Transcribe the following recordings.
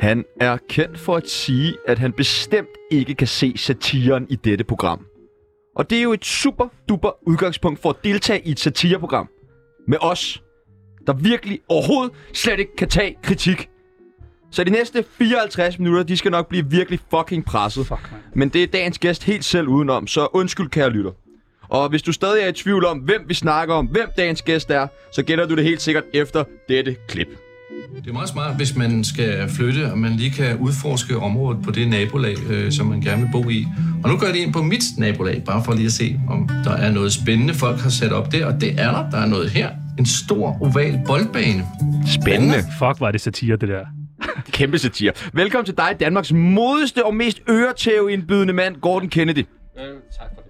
Han er kendt for at sige, at han bestemt ikke kan se satiren i dette program. Og det er jo et super duper udgangspunkt for at deltage i et satireprogram. Med os, der virkelig overhovedet slet ikke kan tage kritik. Så de næste 54 minutter, de skal nok blive virkelig fucking presset. Fuck, man. Men det er dagens gæst helt selv udenom, så undskyld kære lytter. Og hvis du stadig er i tvivl om, hvem vi snakker om, hvem dagens gæst er, så gætter du det helt sikkert efter dette klip. Det er meget smart, hvis man skal flytte, og man lige kan udforske området på det nabolag, øh, som man gerne vil bo i. Og nu går jeg lige ind på mit nabolag, bare for lige at se, om der er noget spændende, folk har sat op der. Og det er der. Der er noget her. En stor oval boldbane. Spændende. Fuck, var det satire, det der. Kæmpe satire. Velkommen til dig, Danmarks modeste og mest øretæveindbydende mand, Gordon Kennedy. Øh, tak for det.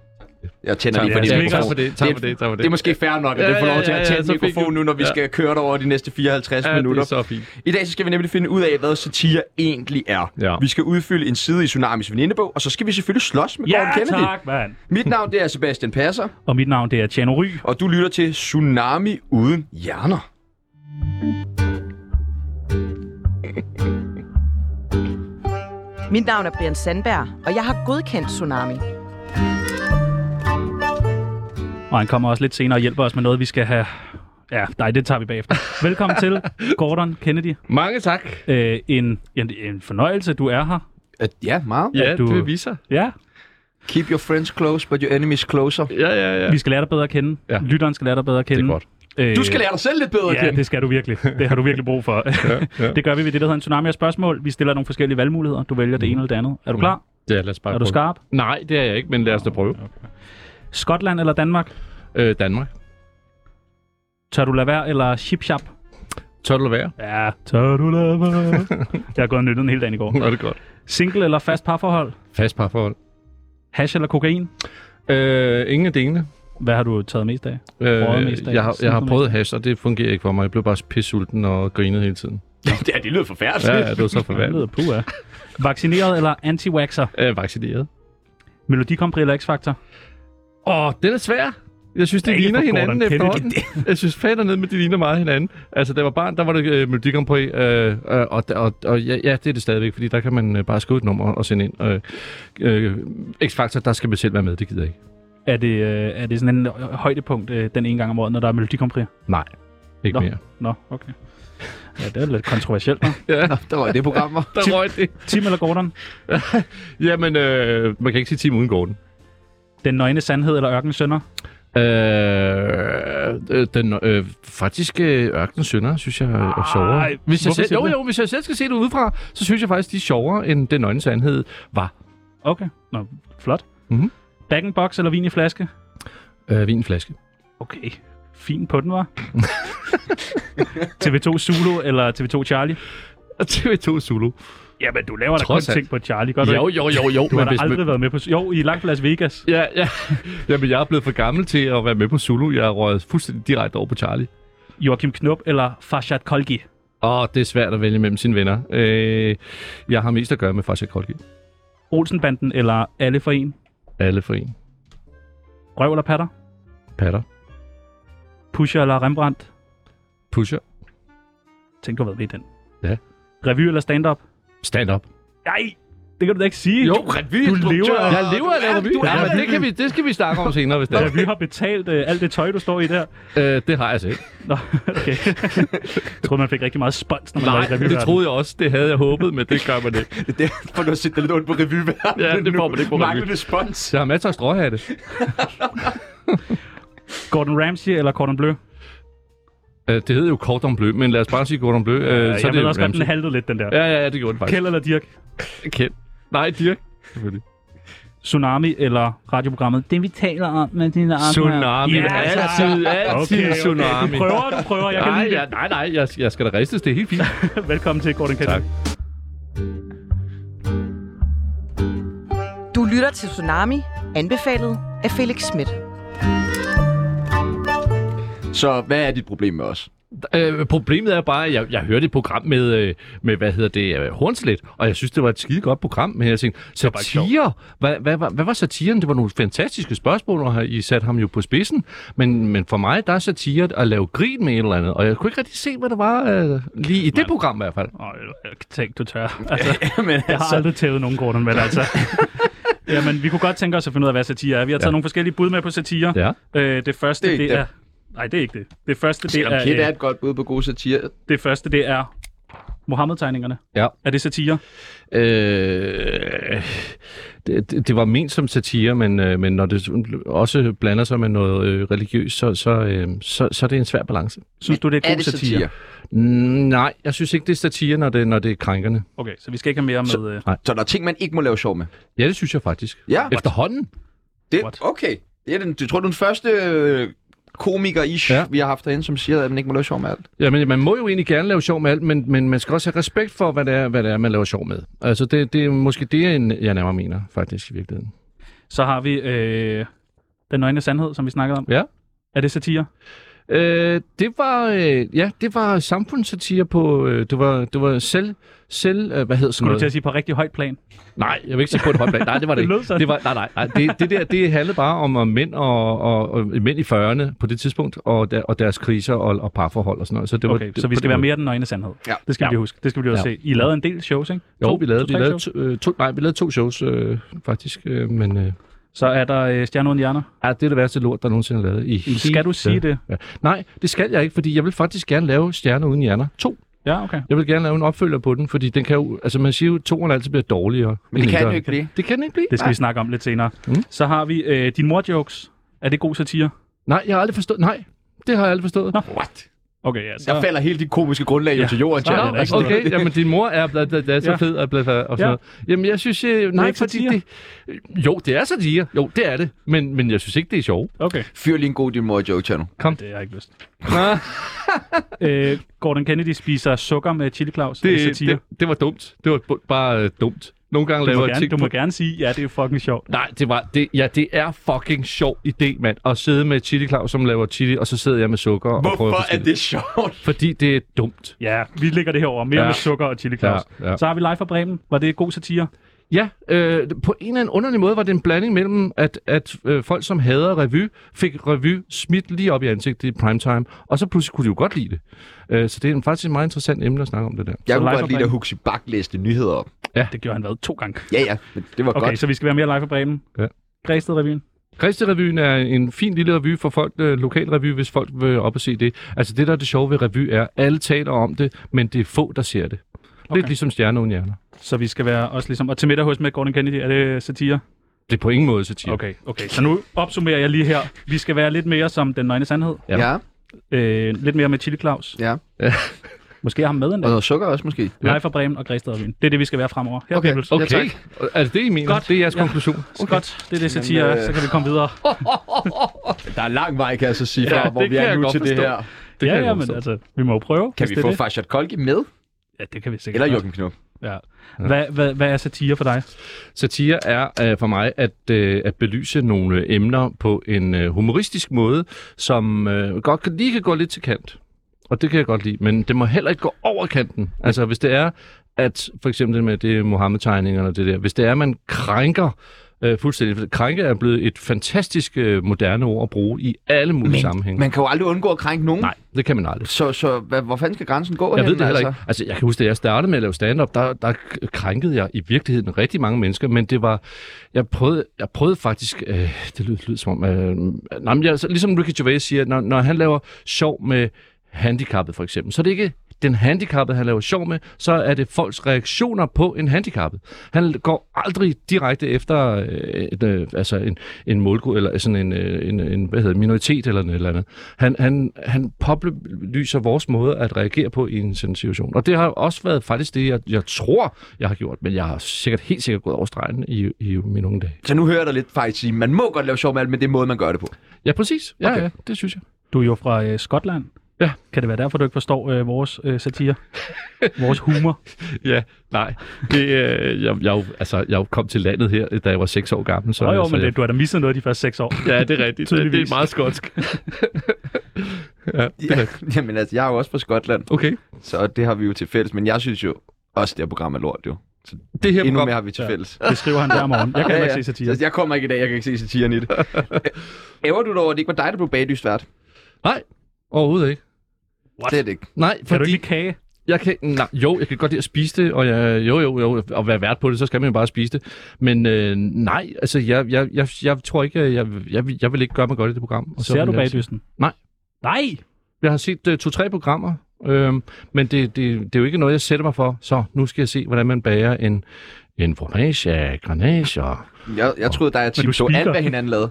Jeg tænder lige ja, for din tak mikrofon. for det, tak for det, tak for det. Det er måske fair nok, at ja, Ja, det får ja, lov til ja, at ja, tænde så fik mikrofonen du- nu, når vi ja. skal køre det over de næste 54 Ja, det minutter. er så fint. I dag så skal vi nemlig finde ud af, hvad satire egentlig er. Ja. Vi skal udfylde en side i Tsunamis venindebog, og så skal vi selvfølgelig slås med Gordon Kennedy. tak, mand. Mit navn det er Sebastian Passer, Og mit navn, det er Tjano Ry. og du lytter til Tsunami Uden Hjerner. Mit navn er Brian Sandberg, og jeg har godkendt Tsunami. Og han kommer også lidt senere og hjælper os med noget, vi skal have... Ja, nej, det tager vi bagefter. Velkommen til, Gordon Kennedy. Mange tak. Øh, en, en, en fornøjelse, du er her. Uh, ja, meget. Ja, du- du... det viser. Ja, Keep your friends close, but your enemies closer. Ja, ja, ja. vi skal lære dig bedre at kende. Ja. Lytteren skal lære dig bedre at kende. Det er godt. Øh, Du skal lære dig selv lidt bedre at Ja, kende. det skal du virkelig. Det har du virkelig brug for. ja, ja. Det gør vi ved det, der hedder en tsunami af spørgsmål. Vi stiller nogle forskellige valgmuligheder. Du vælger det ene eller det andet. Mm. Er du klar? Ja, lad os bare Er du prøve. skarp? Nej, det er jeg ikke, men lad os da prøve. Skotland eller Danmark? Øh, Danmark. Tør du lade være eller chip-chap? Tør du lade være? Ja, tør du lade være. Jeg har gået og nyttet den hele dagen i går. Nå, det er godt. Single eller fast parforhold? Fast parforhold. Hash eller kokain? Øh, ingen af delene. Hvad har du taget mest af? Røget mest af, Øh, jeg, har, jeg har snuset prøvet hash, og det fungerer ikke for mig. Jeg blev bare pissulten og grinede hele tiden. Ja, det lyder forfærdeligt. Ja, ja det var så Det lyder forværligt. puha. Vaccineret eller anti-waxer? Øh, vaccineret. Melodikompri eller X-Factor? Åh, den er svær. Jeg synes, Det det er ikke ligner for Gordon hinanden Kennedy. efterhånden. Jeg synes fat ned med, de ligner meget hinanden. Altså, da jeg var barn, der var det øh, Melodi Grand Prix, øh, øh, og, og, og ja, ja, det er det stadigvæk, fordi der kan man øh, bare skrive et nummer og sende ind. Øh, øh, X-Factor, der skal man selv være med, det gider jeg ikke. Er det, øh, er det sådan en øh, højdepunkt øh, den ene gang om året, når der er melodikompri? Nej, ikke Nå. Nå. mere. Nå, okay. Ja, det er lidt kontroversielt. hva'? Ja, Der var det program, var. der røg det. Tim eller Gordon? Jamen, øh, man kan ikke sige Team uden Gordon. Den nøgne sandhed eller ørkens sønder? Øh, øh, den, øh, faktisk øh, Ørken Sønder, synes jeg, er sjovere. Hvis jeg hvorfor selv, siger jo, du det? jo, hvis jeg selv skal se det udefra, så synes jeg faktisk, de er sjovere, end Den Nøgne Sandhed var. Okay, Nå, flot. Mhm. Bag box eller vin i flaske? Øh, vinflaske. Okay, fin på den, var. TV2 Zulu eller TV2 Charlie? Og TV2 Zulu. Jamen, du laver da kun Trods alt. ting på Charlie, gør du jo, ikke? jo, jo, jo. Du har da aldrig man... været med på... Jo, i langt Las Vegas. Ja, ja. Jamen, jeg er blevet for gammel til at være med på Zulu. Jeg er røget fuldstændig direkte over på Charlie. Joachim Knop eller Farshad Kolgi? Åh, det er svært at vælge mellem sine venner. Øh, jeg har mest at gøre med Fasha Kolki. Olsenbanden eller Alle for en? Alle for en. Røv eller patter? Patter. Pusher eller Rembrandt? Pusher. Tænk, du har været med i den. Ja. Revy eller stand-up? Stand up. Nej, det kan du da ikke sige. revy, Du lever af- Jeg lever af lavet du er Ja, men det, kan vi, det skal vi snakke om senere, hvis det er. Revy har betalt øh, alt det tøj, du står i der. Øh, det har jeg set. Nå, okay. jeg troede, man fik rigtig meget spons, når man lavede revy. det troede jeg også. Det havde jeg håbet, men det gør man ikke. Det er for du har set dig lidt ondt på revyverdenen Ja, det nu. får man ikke på revy. Manglende spons. Jeg har masser af stråhatte. Gordon Ramsay eller Gordon Bleu? Øh, det hedder jo Cordon Bleu, men lad os bare sige Cordon Bleu. Øh, Øh, så jeg er det ved jo også, at den Ramsay. haltede lidt, den der. Ja. Ja, ja, ja, det gjorde den faktisk. Kjeld eller Dirk? Kjeld. Nej, Dirk. Selvfølgelig. Tsunami eller radioprogrammet? Det, vi taler om med dine arme. Tsunami. Ah, Ja, altså, ah, altid, altid Okay, okay. tsunami. Du prøver, du prøver. Jeg kan nej, lide ja, nej, nej, jeg, jeg skal da ristes, det er helt fint. det. Velkommen til Gordon Kennedy. Tak. Du lytter til Tsunami, anbefalet af Felix Schmidt. Så hvad er dit problem med os? Øh, problemet er bare, at jeg, jeg hørte et program med, øh, med hvad hedder det, øh, Hornslet, og jeg synes, det var et skide godt program, men jeg tænkte, bare ikke sjovt. satire? Hvad, hvad, hvad, hvad var satiren? Det var nogle fantastiske spørgsmål, og har- I satte ham jo på spidsen, men, men for mig, der er satire at lave grin med et eller andet, og jeg kunne ikke rigtig se, hvad det var, øh, lige i det program i hvert fald. Åh, jeg tænk, du tør. Altså, men jeg har aldrig tævet nogen Gordon, men altså... Jamen, vi kunne godt tænke os at finde ud af, hvad satire er. Vi har taget ja. nogle forskellige bud med på satire. Ja. Øh, det første, Det er det, ikke det dem. er... Nej, det er ikke det. Det første, det er, Det er øh, et godt bud på gode satire. det, første, det er Mohammed-tegningerne. Ja. Er det satire? Øh, det, det- det var ment som satire, men, øh, men når det også blander sig med noget øh, religiøst, så, så, øh, så, så er det en svær balance. Synes du, det er Er god det satire? satire? Mm, nej, jeg synes ikke, det er satire, når det, når det er krænkende. Okay, så vi skal ikke have mere med... øh, Så der er ting, man ikke må lave sjov med. Ja, det synes jeg faktisk. Ja, Efterhånden. det, What? okay. Det er den, jeg tror, du er den første øh, komiker-ish, Ja. ja. vi har haft derinde, som siger, at man ikke må lave sjov med alt. Jamen, man må jo egentlig gerne lave sjov med alt, men, men man skal også have respekt for, hvad det er, hvad det er man laver sjov med. Altså, det, det er måske det, en- jeg nærmere mener, faktisk, i virkeligheden. Så har vi øh, Den nøgne sandhed, som vi snakkede om. Ja. Er det satire? Øh, det var øh, ja, det var samfundssatire på øh, det var det var selv selv øh, hvad hedder sådan Skulle du noget? til at sige på rigtig højt plan? Nej, jeg vil ikke sige på et højt plan. Nej, det var det, ikke. Det lød sådan. Det var, nej, nej, nej. Det, det der, det handlede bare om, om mænd, og, og, og, mænd i 40'erne på det tidspunkt, og, der, og deres kriser og, og parforhold og sådan noget. Så, det var, Okay, det, så vi på skal den være måde. mere den nøgne sandhed. Ja. Det skal vi Ja. lige huske. Det skal vi lige Ja. se. I lavede en del shows, ikke? Jo, vi lavede, vi tre lavede, shows? to, øh, to, nej, vi lavede to shows, øh, faktisk. Øh, men øh, Så er der øh, Stjerne uden hjerner. ja, det er det værste lort, der nogensinde er lavet. I hele- Skal du sige det? Ja. Nej, det skal jeg ikke, fordi jeg vil faktisk gerne lave Stjerner uden hjerner. To. Ja, okay. Jeg vil gerne lave en opfølger på den, fordi den kan jo, altså man siger jo, at toeren altid bliver dårligere. Men end det kan den etteren. jo ikke blive. Det kan den ikke blive. Det skal vi snakke om lidt senere. Mm. Så har vi øh, din mor-jokes. Er det god satire? Nej, jeg har aldrig forstået. Nej, det har jeg aldrig forstået. What? Okay, ja. Så, Der falder hele dit komiske grundlag jo Ja. til jorden, Så er Jan. det da ikke Nå, noget. okay, jamen din mor er blevet, blevet, blevet så Ja. fed og blevet og sådan Ja. noget. Jamen jeg synes, øh, nej, ikke fordi satire. det... Jo, det er satire. Jo, det er det. Men, men jeg synes ikke, det er sjovt. Okay, Fyr lige en god din mor joke channel. det har jeg ikke lyst. øh, Gordon Kennedy spiser sukker med chili claus. Det, er det satire. Altså, det, det var dumt. Det var bu- bare øh, dumt. Nogle gange du, må laver jeg gerne, ting du må på... gerne sige, ja, det er fucking sjovt. Nej, det var, det, ja, det er fucking sjov idé, mand. At sidde med Chili Claus, som laver chili, og så sidder jeg med sukker og prøver at Hvorfor forstå er det sjovt? Fordi det er dumt. Ja, vi ligger det her over. Mere ja. Ja. med sukker og chili claus. Ja, Ja, ja. ja. Så har vi live fra Bremen. Var det god satire? Ja, øh, på en eller anden underlig måde var det en blanding mellem, at, at øh, folk, som hader revy, fik revy smidt lige op i ansigtet i primetime, og så pludselig kunne de jo godt lide det. Øh, så det er en- faktisk et meget interessant emne at snakke om det der. Jeg kunne live godt lide, opringning. at Huxi Bak læste nyheder op. Det gjorde han været to gange. Ja, ja, men det var Okay, godt. så vi skal være mere live fra Bremen. Ja. Græsted-revyen. Kristi-revyen er en fin lille revy for folk, øh, lokal revy, hvis folk vil op og se det. Altså det, der er det sjove ved revy, er, at alle taler om det, men det er få, der ser det. Okay. Okay. Lidt ligesom Stjerne uden hjerner. Så vi skal være også ligesom... Og til middag hos med Gordon Kennedy, er det satire? Det er på ingen måde satire. Okay, okay. Så nu opsummerer jeg lige her. Vi skal være lidt mere som den nøgne sandhed. Ja. Ja, Øh, lidt mere med Chili Claus. ja. Måske har ham med en Og dag. noget sukker også måske. Ja. Live fra Bremen og Græsted Revyen. Det er det, vi skal være fremover. Her, okay. Pibbles. Ja, Okay. tak. Ja, altså det, I mener, Godt. Godt. det er jeres Ja. ja. konklusion. Okay. Godt, det er det satire, Jamen, øh... øh, så kan vi komme videre. Der er lang vej, kan jeg så sige, fra Ja, hvor det vi kan er jeg nu godt til det forstå. her. Det ja, kan ja, jeg men forstå. altså, vi må jo prøve. Kan hvis vi det er få det. Farshad Kolke med? Ja, det kan vi sikkert. Eller godt. Jørgen Knop? Ja. Hvad, hvad, hvad er satire for dig? Satire er øh, for mig at, øh, at belyse nogle øh, emner på en øh, humoristisk måde, som øh, godt kan, lige kan gå lidt til kant. Og det kan jeg godt lide, men det må heller ikke gå over kanten. Altså hvis det er, at for eksempel det med det Mohammed-tegningerne og det der, hvis det er, at man krænker øh, fuldstændig, for krænke er blevet et fantastisk øh, moderne ord at bruge i alle mulige men, sammenhænge. Men, Man kan jo aldrig undgå at krænke nogen. Nej, det kan man aldrig. Så, så hvad, hvor fanden skal grænsen gå Jeg hen, ved det heller altså? ikke. Altså, jeg kan huske, da jeg startede med at lave stand-up, der, der k- krænkede jeg i virkeligheden rigtig mange mennesker, men det var... Jeg prøvede, jeg prøvede faktisk... Øh, det lyder, lyder som om... Øh, nej, men jeg, altså, ligesom Ricky Gervais siger, når, når han laver sjov med handicappet, for eksempel, så er det ikke den handicappede, han laver sjov med, så er det folks reaktioner på en handicappet. Han går aldrig direkte efter øh, et, øh, altså en, en målgruppe, eller sådan en, øh, en, en hvad hedder, det, minoritet eller noget eller andet. Han, han, han påbelyser vores måde at reagere på i en sådan situation. Og det har også været faktisk det, jeg, jeg tror, jeg har gjort, men jeg har sikkert helt sikkert gået over stregen i, i mine unge dage. Så nu hører jeg dig lidt faktisk sige, man må godt lave sjov med alt, men det er måde, man gør det på. Ja, præcis. Ja, Okay. okay. ja, det synes jeg. Du er jo fra øh, Skotland. Ja. Kan det være derfor, du ikke forstår øh, vores øh, satire? vores humor? Ja, nej. Det, øh, jeg, jeg, er jo- altså, jeg kom til landet her, da jeg var seks år gammel. Så, Nå jo, så men jeg- det, du har da misset noget de første seks år. Ja, det er rigtigt. det, det er Tydeligvis. meget skotsk. Ja, det er Ja, rigtigt. jamen altså, jeg er jo også fra Skotland, Okay. så det har vi jo til fælles. Men jeg synes jo også, det her program er lort jo. Så Det her endnu program, mere har vi til Ja. fælles. Det skriver han hver morgen. Jeg kan ja, ikke se satire. Så jeg kommer ikke i dag, jeg kan ikke se satiren i det. Æver du dig over, at det ikke var dig, der blev baglyst vært? overhovedet ikke. What? Slet ikke. Nej, Kan du fordi ikke lide kage? jeg kan, nej, jo, jeg kan godt lide at spise det, og jeg, jo, jo, jo, og være vært på det, så skal man jo bare spise det. Men øh, nej, altså, jeg, jeg, jeg, jeg tror ikke, jeg, jeg, jeg, jeg vil ikke gøre mig godt i det program. Og så Ser vil du jeg- bagdysten? Nej. Nej! Jeg har set øh, to-tre programmer, øhm, men det, det, det er jo ikke noget, jeg sætter mig for. Så nu skal jeg se, hvordan man bager en, en fromage af granager. Jeg, jeg troede dig, at Men Tim du så alt, speaker. hvad hinanden lavede.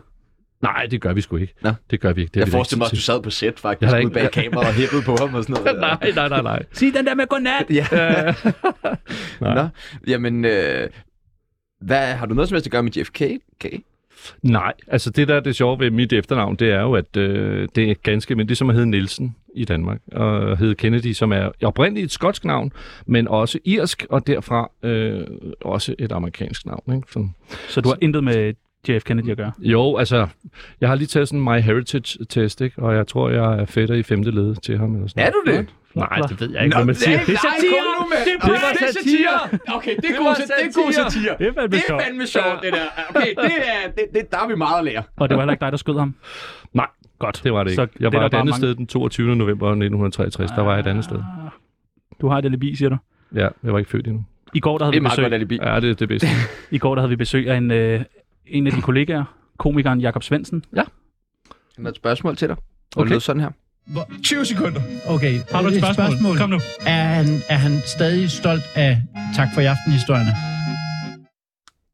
Nej, det gør vi sgu ikke. Nå. Det gør vi ikke. Det er Jeg vi forestiller mig, ikke at du sad på set Jeg faktisk, har ude ikke- bag kamera og hæppede på ham og sådan noget. Nej, nej, nej, nej. Sig den der med godnat! Ja. Nej. Nå, jamen, øh, hvad, har du noget som helst at gøre med JFK? Okay. Nej, altså det der er det sjove ved mit efternavn, det er jo, at øh, det er ganske men det som at hedde Nielsen i Danmark, og hedde Kennedy, som er oprindeligt et skotsk navn, men også irsk, og derfra øh, også et amerikansk navn. Ikke? Sådan. Så du har intet med JF Kennedy at gøre? Jo, altså, jeg har lige taget sådan en My Heritage-test, ikke? og jeg tror, jeg er fætter i femte led til ham. Eller sådan Er noget. du det? Nej, det ved jeg ikke, hvad man siger. Det er satire! Det er Det var satire! Okay, det er var god satire. Det er god satire. satire. Det er fandme Det er sjovt. fandme sjovt, det der. Okay, det er, det, det, der er vi meget at lære. Og det var heller ikke dig, der skød ham? Nej, Godt. det var det ikke. Så Så jeg det var er der et bare andet mange- sted den 22. november 1963. Der var jeg et andet sted. Du har et alibi, siger du? Ja, jeg var ikke født endnu. I går, der Det havde er vi meget besøg, godt alibi. Ja, det er det bedste. I går, der havde vi besøg af en, øh, en af dine kollegaer, komikeren Jakob Svendsen. Jeg har et spørgsmål til dig. Og Okay. det lød sådan her. Okay. Har du et spørgsmål? Kom nu. Er han, er han stadig stolt af tak for i aften historierne?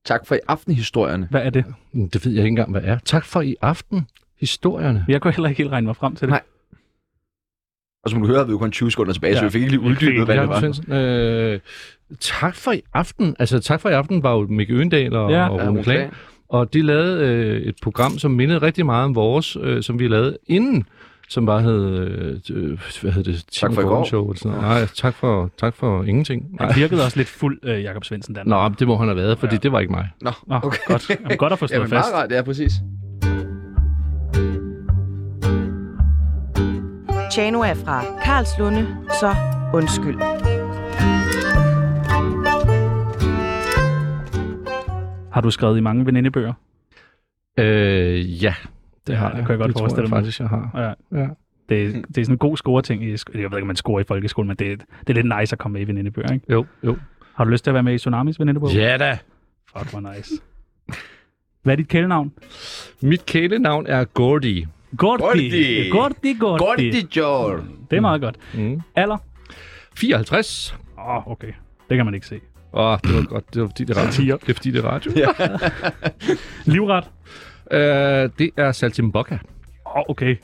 Tak for i aftenhistorierne. Hvad er det? Mm, Det ved jeg ikke engang, hvad er. Tak for i aften. Historierne. Jeg kunne heller ikke helt regne mig frem til det. Nej. Og som du hører, havde vi jo kun 20 sekunder tilbage, så Ja. vi fik ikke lige uddybet, hvad det Jakob var. Svendsen, øh, tak for i aften. Altså, tak for i aften var jo Mikke Øendal og, Ja. og Ja, Rune Klan. okay. Og de lavede øh, et program, som mindede rigtig meget om vores, øh, som vi lavede inden, som bare hed, øh, hvad hed det? Tim for i Gordon går. Show, eller sådan noget. Nej, tak for, tak for ingenting. Nej. Han virkede også lidt fuld, øh, Jakob Svendsen, der. Nå, men det må han have været, fordi ja. det var ikke mig. Nå, Nå, okay. godt. Jamen, godt at få Jamen, slået fast. meget rart, ja, præcis. Tjano er fra Karlslunde, så undskyld. Har du skrevet i mange venindebøger? Øh, ja, det Ja, har det jeg. kan jeg godt det tror forestille mig. faktisk, jeg har. Ja. Ja. Det, det er sådan en god scoreting. I, sk- jeg ved ikke, om man scorer i folkeskolen, men det, det er lidt nice at komme med i venindebøger, ikke? Jo, jo. Har du lyst til at være med i Tsunamis venindebog? Ja da. Fuck, hvor nice. Hvad er dit kælenavn? Mit kælenavn er Gordy. Gordi. Gordi. Gordi, Gordi. Godt i Jor. Det er meget godt. Mm. Alder? 54. Åh, oh, okay. Det kan man ikke se. Åh, oh, det var godt. Det var fordi, det er radio. Satire. Det er fordi, det er radio. Livret? Øh, det er Saltimbocca. Åh, oh, okay.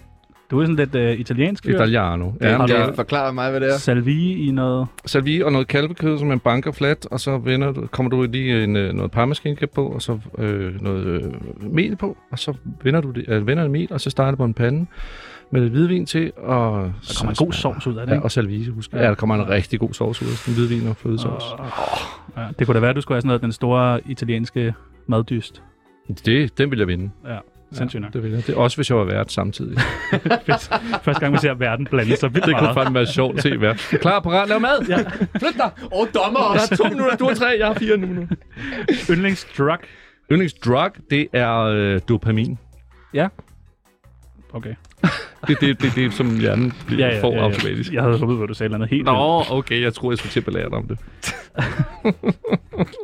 Du er sådan lidt øh, italiensk. jo. Italiano. Ja, har det du- er Ja, forklar mig, hvad det er. Salvie i noget... salvi og noget kalvekød, som man banker fladt, og så vender, du- kommer du lige en, øh, noget parmeskinkæb på, og så øh, noget øh, mel på, og så vender du det, øh, vender det mel, og så starter du på en pande med lidt hvidvin til, og... Der kommer en god sovs ud af det, Ja, ikke? og salvise, husk. Ja, der kommer en rigtig god sovs ud af sådan hvidvin og flødesovs. Ja, det kunne da være, at du skulle have sådan noget, den store italienske maddyst. Det, den vil jeg vinde. Ja, sindssygt nok. Det vil jeg. Det, også hvis jeg var vært samtidig. Fedt. Første gang, vi ser verden blande sig vildt Det kunne meget. fandme være sjovt at se vært. Klar, parat, lav mad! Ja. Flyt dig! Åh, oh, dommer Der også. er to minutter, du har tre, jeg har fire nu. nu. Yndlingsdrug. Yndlingsdrug, det er øh, dopamin. Okay. Det er det, det, det, som hjernen ja, ja, får ja, ja. automatisk. Jeg havde håbet, at du sagde noget helt vildt. Nå, okay, jeg tror, jeg skulle til at belære dig om det.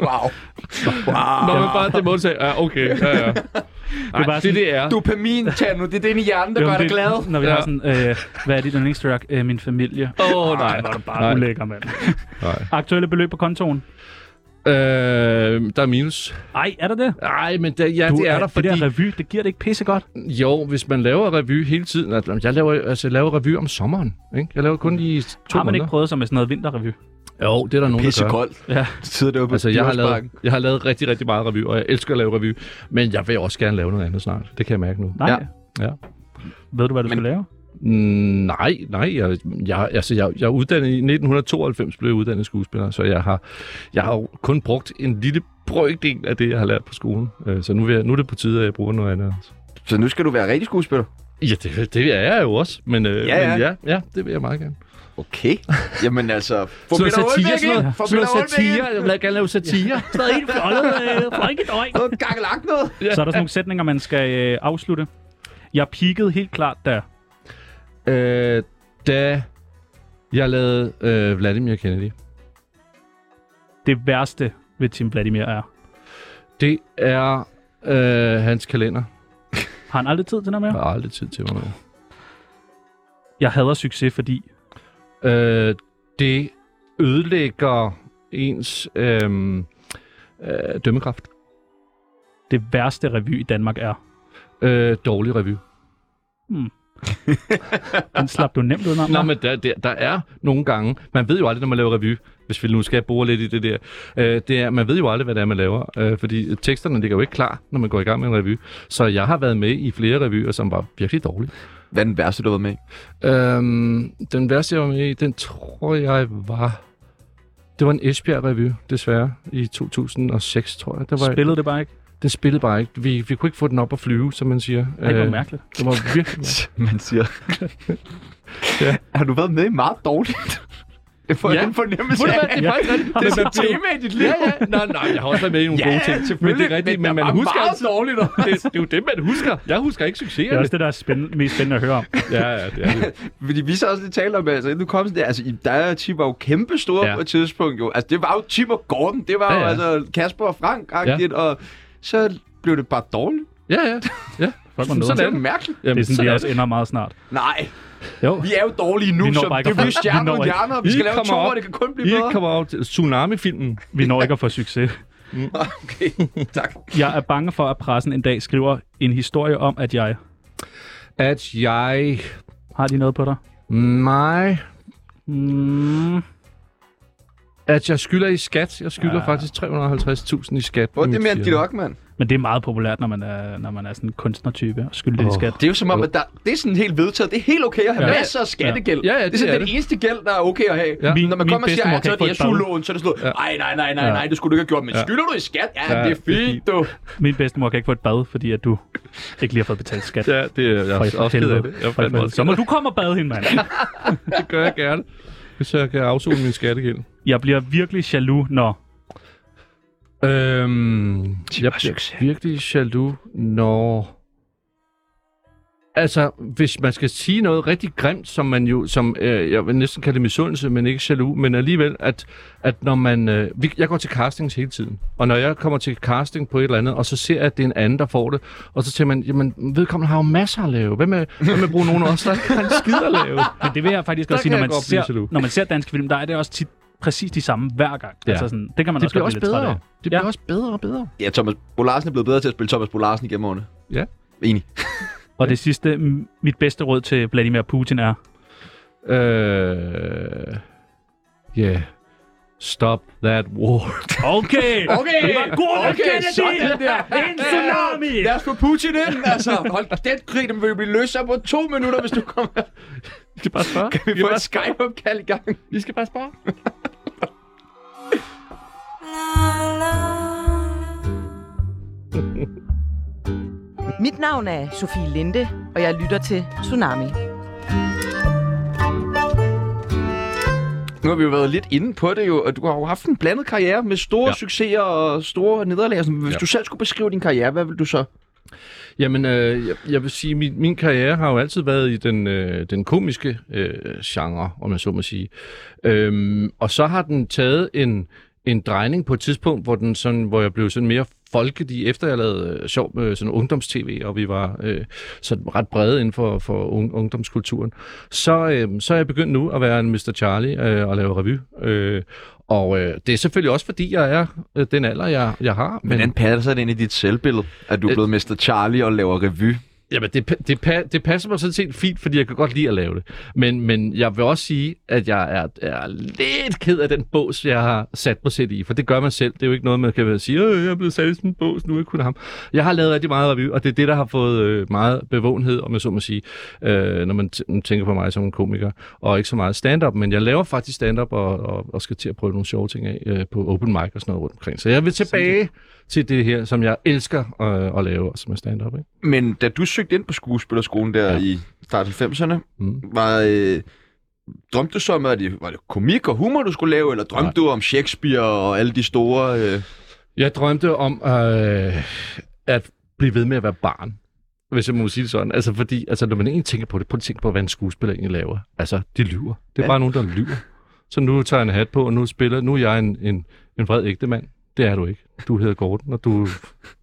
Wow. Wow. Nå, men bare det måde, sagde, ja, okay, ja, ja. Ej, det, bare er det, sådan- det er. Dopamin, Tjerno, det er den i hjernen, der Jo, gør dig det- glad. Når vi ja. har Ja. sådan, øh, hvad er dit yndlingsdrug? Øh, min familie. Ah, Åh, oh, Nej, nej. hvor er du bare Nej. ulækker, mand. nej. Aktuelle beløb på kontoen? Øh, der er minus. Ej, er der det? Nej, men det, ja, Du, øh, det er der, fordi... Det der revy, det giver det ikke pisse godt. jo, hvis man laver revy hele tiden... altså, Jeg laver, altså, jeg laver revy om sommeren, ikke? Jeg laver kun i to Har man ikke måneder. prøvet sig med sådan noget vinterrevy? Jo, det er der nogen, der gør. Pissekoldt. Ja. Du sidder derude på Altså, jeg har, lavet, Dyrehavsparken. jeg har lavet rigtig, rigtig meget revy, og jeg elsker at lave revy. Men jeg vil også gerne lave noget andet snart. Det kan jeg mærke nu. Nej. Ja. Ja. Ved du, hvad Men- du skal lave? Mm, nej, nej. Jeg, jeg, altså, jeg, jeg er uddannet i 1992, blev jeg uddannet skuespiller, så jeg har, jeg har jo kun brugt en lille brøkdel af det, jeg har lært på skolen. Øh, Så nu, vil jeg, nu er det på tide, at jeg bruger noget andet. Så nu skal du være rigtig skuespiller. Ja, det, det er jeg jo også, men, øh, Ja, men ja. ja, ja, det vil jeg meget gerne. Okay. Jamen altså... Få Sådan noget satire, sådan ind! noget- Få sådan Peter Olbæk ind! noget satire. Jeg vil gerne lave satire. Stadig en fjollet øh, folkedøj. Noget gakkelagt noget! Så er der sådan nogle sætninger, man skal øh, afslutte. Jeg peakede helt klart der. øh, da jeg lavede øh, Vladimir Kennedy, Det værste ved Tim Vladimir er. det er øh, hans kalender. Har han aldrig tid til noget Jeg mere? har aldrig tid til mig. med. Jeg hader succes, fordi... Øh, det ødelægger ens øh, øh, dømmekraft. Det værste revy i Danmark er. Øh, dårlig review. Den slap du nemt udenom. Nå, men der, der, der er nogle gange, man ved jo aldrig, når man laver review, hvis vi nu skal bore lidt i det der, øh, det er, man ved jo aldrig, hvad det er, man laver, øh, fordi teksterne ligger jo ikke klar, når man går i gang med en review. Så jeg har været med i flere revyer, som var virkelig dårlige. Hvad er den værste, du har været med i? Øhm, den værste, jeg var med i, den tror jeg var... Det var en Esbjerg-review, desværre, i 2006, tror jeg. Der var, Spillede det bare ikke? Den spillede bare ikke. Vi, vi kunne ikke få den op at flyve, som man siger. Ej, det var Øh, mærkeligt. Det var virkelig mærkeligt. Man siger... ja. Har du været med i meget dårligt? Jeg får Ja. ja. en fornemmelse Ved du af, hvad, det er faktisk rigtigt. Det er et tema i dit liv. Ja, ja. Nej, nej, jeg har også været med i nogle gode ting. Men det er rigtigt, men, man husker... Meget dårligt. Det, det, er jo det, man husker. Jeg husker ikke Det er succeserne. også det, der er spændende, mest spændende at høre om. Ja, ja, det er det. Fordi vi så også lidt taler om, altså inden du kom sådan der, altså I- der er Tim var jo kæmpe store Ja. ja. på et tidspunkt jo. Altså det var jo Tim og Gordon, det var Ja, ja, ja. ja. jo altså Kasper og Frank ja. og så blev det bare dårligt. Ja, ja. ja. Fuck, hvor Sådan nederen. er det mærkeligt. Jamen, Det er sådan, vi er også ender meget snart. Nej, Jo. vi er jo dårlige nu, Vi når så bare ikke det at er jo få- vi stjerner når og ikke. hjerner, og vi I skal lave kommer to, op. og det kan kun blive I bedre. kommer over til Tsunami-filmen. Vi når ikke at få succes. Okay, tak. Jeg er bange for, at pressen en dag skriver en historie om, at jeg... At jeg... Har de noget på dig? Nej. Mm, At jeg skylder i skat. Jeg skylder ja. faktisk 350.000 i skat. på Hvor er mit det mere end dit firma. ok, mand? men det er meget populært, når man er, når man er sådan en kunstnertype og skylder oh. Åh. i skat. Det er jo som om, at der, det er sådan helt vedtaget. Det er helt okay at have Ja. ja. masser af skattegæld. Ja. Ja, ja, det er det sådan er den det. eneste gæld, der er okay at have. Ja. Ja. Min- Når man min kommer og siger, bedstemor at kan så er ikke få det et bad. SU-lån, så er det sådan noget, nej, nej, nej, nej, nej, det skulle du ikke have gjort, men skylder du i skat? Ja, Ja, det er det er fint, du. Min bedstemor kan ikke få et bad, fordi at du ikke lige har fået betalt skat. Ja, det er jeg er For også ked af helvede. det. Jeg er For fandme helvede. også Så ked må af du komme og bade hende, mand. det. Det gør jeg gerne. Hvis jeg kan afsone min skattegæld. Jeg bliver virkelig jaloux, når... Øhm, jeg bliver succes. virkelig jaloux, når... Altså, hvis man skal sige noget rigtig grimt, som man jo, som øh, jeg vil næsten kalde det misundelse, men ikke jaloux, men alligevel, at, at når man... Øh, vi, jeg går til castings hele tiden, og når jeg kommer til casting på et eller andet, og så ser jeg, at det er en anden, der får det, og så tænker man, jamen, vedkommende har jo masser at lave. Hvad med, hvad med at bruge nogen af os, der ikke har en skid at lave? Men det vil jeg faktisk Der også sige, kan når jeg man, godt blive ser, jaloux. når man ser danske film, der er det også tit præcis de samme hver gang. Ja. Ja. Altså sådan, det kan man Det også bliver godt også blive lidt træt bedre. af. Det bliver Ja. også bedre og bedre. Ja, Thomas Bolarsen er blevet bedre til at spille Thomas Bolarsen igennem årene. Ja. Enig. Og det sidste, m- mit bedste råd til Vladimir Putin er, Øh... Yeah. Stop that war. okay, okay det var god okay, Kennedy, en tsunami. Lad os få Putin ind, altså. Hold den krig, den vil jo blive løst op på to minutter, hvis du kommer. I skal bare spare. Vi får et Skype-opkald i gang. I skal bare spare. Mit navn er Sofie Linde, og jeg lytter til Tsunami. Nu har vi jo været lidt inde på det jo, og du har jo haft en blandet karriere med store Ja. ja. succeser og store nederlag. Sådan, Hvis Ja. ja. du selv skulle beskrive din karriere, hvad vil du så? Jamen, øh, jeg, jeg vil sige, min, min karriere har jo altid været i den, øh, den komiske øh, genre, om jeg så må sige. Øhm, og så har den taget en, en drejning på et tidspunkt, hvor, den sådan, hvor jeg blev sådan mere folkelig, efter jeg lavede øh, sjov med sådan ungdomstv, og vi var øh, sådan ret brede inden for, for un, ungdomskulturen. Så, øh, så er jeg begyndt nu at være en Mr. Charlie øh, og lave revy. Øh, og øh, det er selvfølgelig også, fordi jeg er øh, den alder, jeg, jeg har. Men, passer det ind i dit selvbillede, at du er blevet Mr. Charlie og laver revy? Jamen, det, pa- det, pa- det passer mig sådan set fint, fordi jeg kan godt lide at lave det. Men, men jeg vil også sige, at jeg er, er lidt ked af den bås, jeg har sat mig selv i. For det gør man selv. Det er jo ikke noget, man kan være sige, øh, jeg er blevet sat i sådan en bås, nu er jeg kun ham. Jeg har lavet rigtig meget revy, og det er det, der har fået øh, meget bevågenhed, om jeg så må sige, øh, når man t- tænker på mig som en komiker. Og ikke så meget stand-up, men jeg laver faktisk stand-up og, og, og skal til at prøve nogle sjove ting af øh, på open mic og sådan noget rundt omkring. Så jeg vil tilbage til det her, som jeg elsker øh, at lave, som er stand-up. Ikke? Men da du søgte søgte ind på skuespillerskolen der ja. i start 90'erne. Mm. Var, øh, drømte du så om, at det, var det komik og humor, du skulle lave, eller drømte Nej. du om Shakespeare og alle de store... Øh... Jeg drømte om øh, at blive ved med at være barn. Hvis jeg må sige det sådan. Altså, fordi, altså, når man egentlig tænker på det, prøv at tænke på, hvad en skuespiller egentlig laver. Altså, de lyver. Det er ja. bare nogen, der lyver. Så nu tager jeg en hat på, og nu spiller, nu er jeg en, en, en vred ægte mand. Det er du ikke. Du hedder Gordon, og du...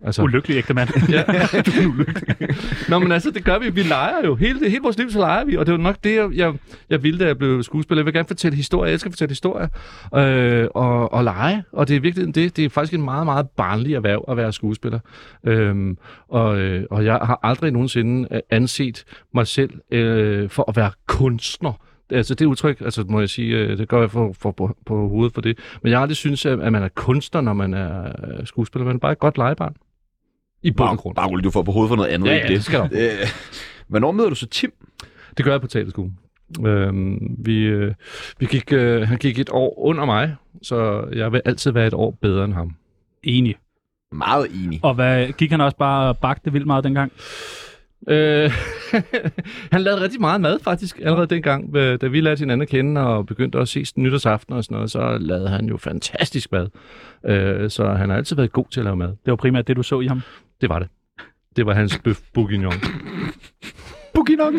Altså, Ulykkelig ægte mand. Ja, du er en ulykkelig. Nå, men altså, det gør vi. Vi leger jo. Hele, hele vores liv, så leger vi. Og det var nok det, jeg, jeg, jeg ville, da jeg blev skuespiller. Jeg vil gerne fortælle historier. Jeg skal fortælle historier. Øh, og, og lege. Og det er virkelig det. Det er faktisk en meget, meget barnlig erhverv at være skuespiller. Øhm, og, øh, og jeg har aldrig nogensinde øh, anset mig selv øh, for at være kunstner altså det udtryk, altså må jeg sige, øh, det gør jeg for, for, på, på hovedet for det, men jeg har aldrig synes, at, at man er kunstner, når man er øh, skuespiller, man er bare et godt legebarn. I bund og grund. Bare rolig, du får på hovedet for noget andet. Ja, ikke ja, det skal du. Øh, hvornår møder du så Tim? Det gør jeg på teaterskolen. Øhm, vi, øh, vi gik, øh, han gik et år under mig, så jeg vil altid være et år bedre end ham. Enig. Meget enig. Og hvad, gik han også bare og bagte vildt meget dengang? Øh, han lavede rigtig meget mad faktisk allerede dengang, øh, da vi lærte hinanden at kende og begyndte at ses nytårsaften og sådan noget, så lavede han jo fantastisk mad. Øh, så han har altid været god til at lave mad. Det var primært det, du så i ham. Det var det. Det var hans bøf bourguignon. Bukinon!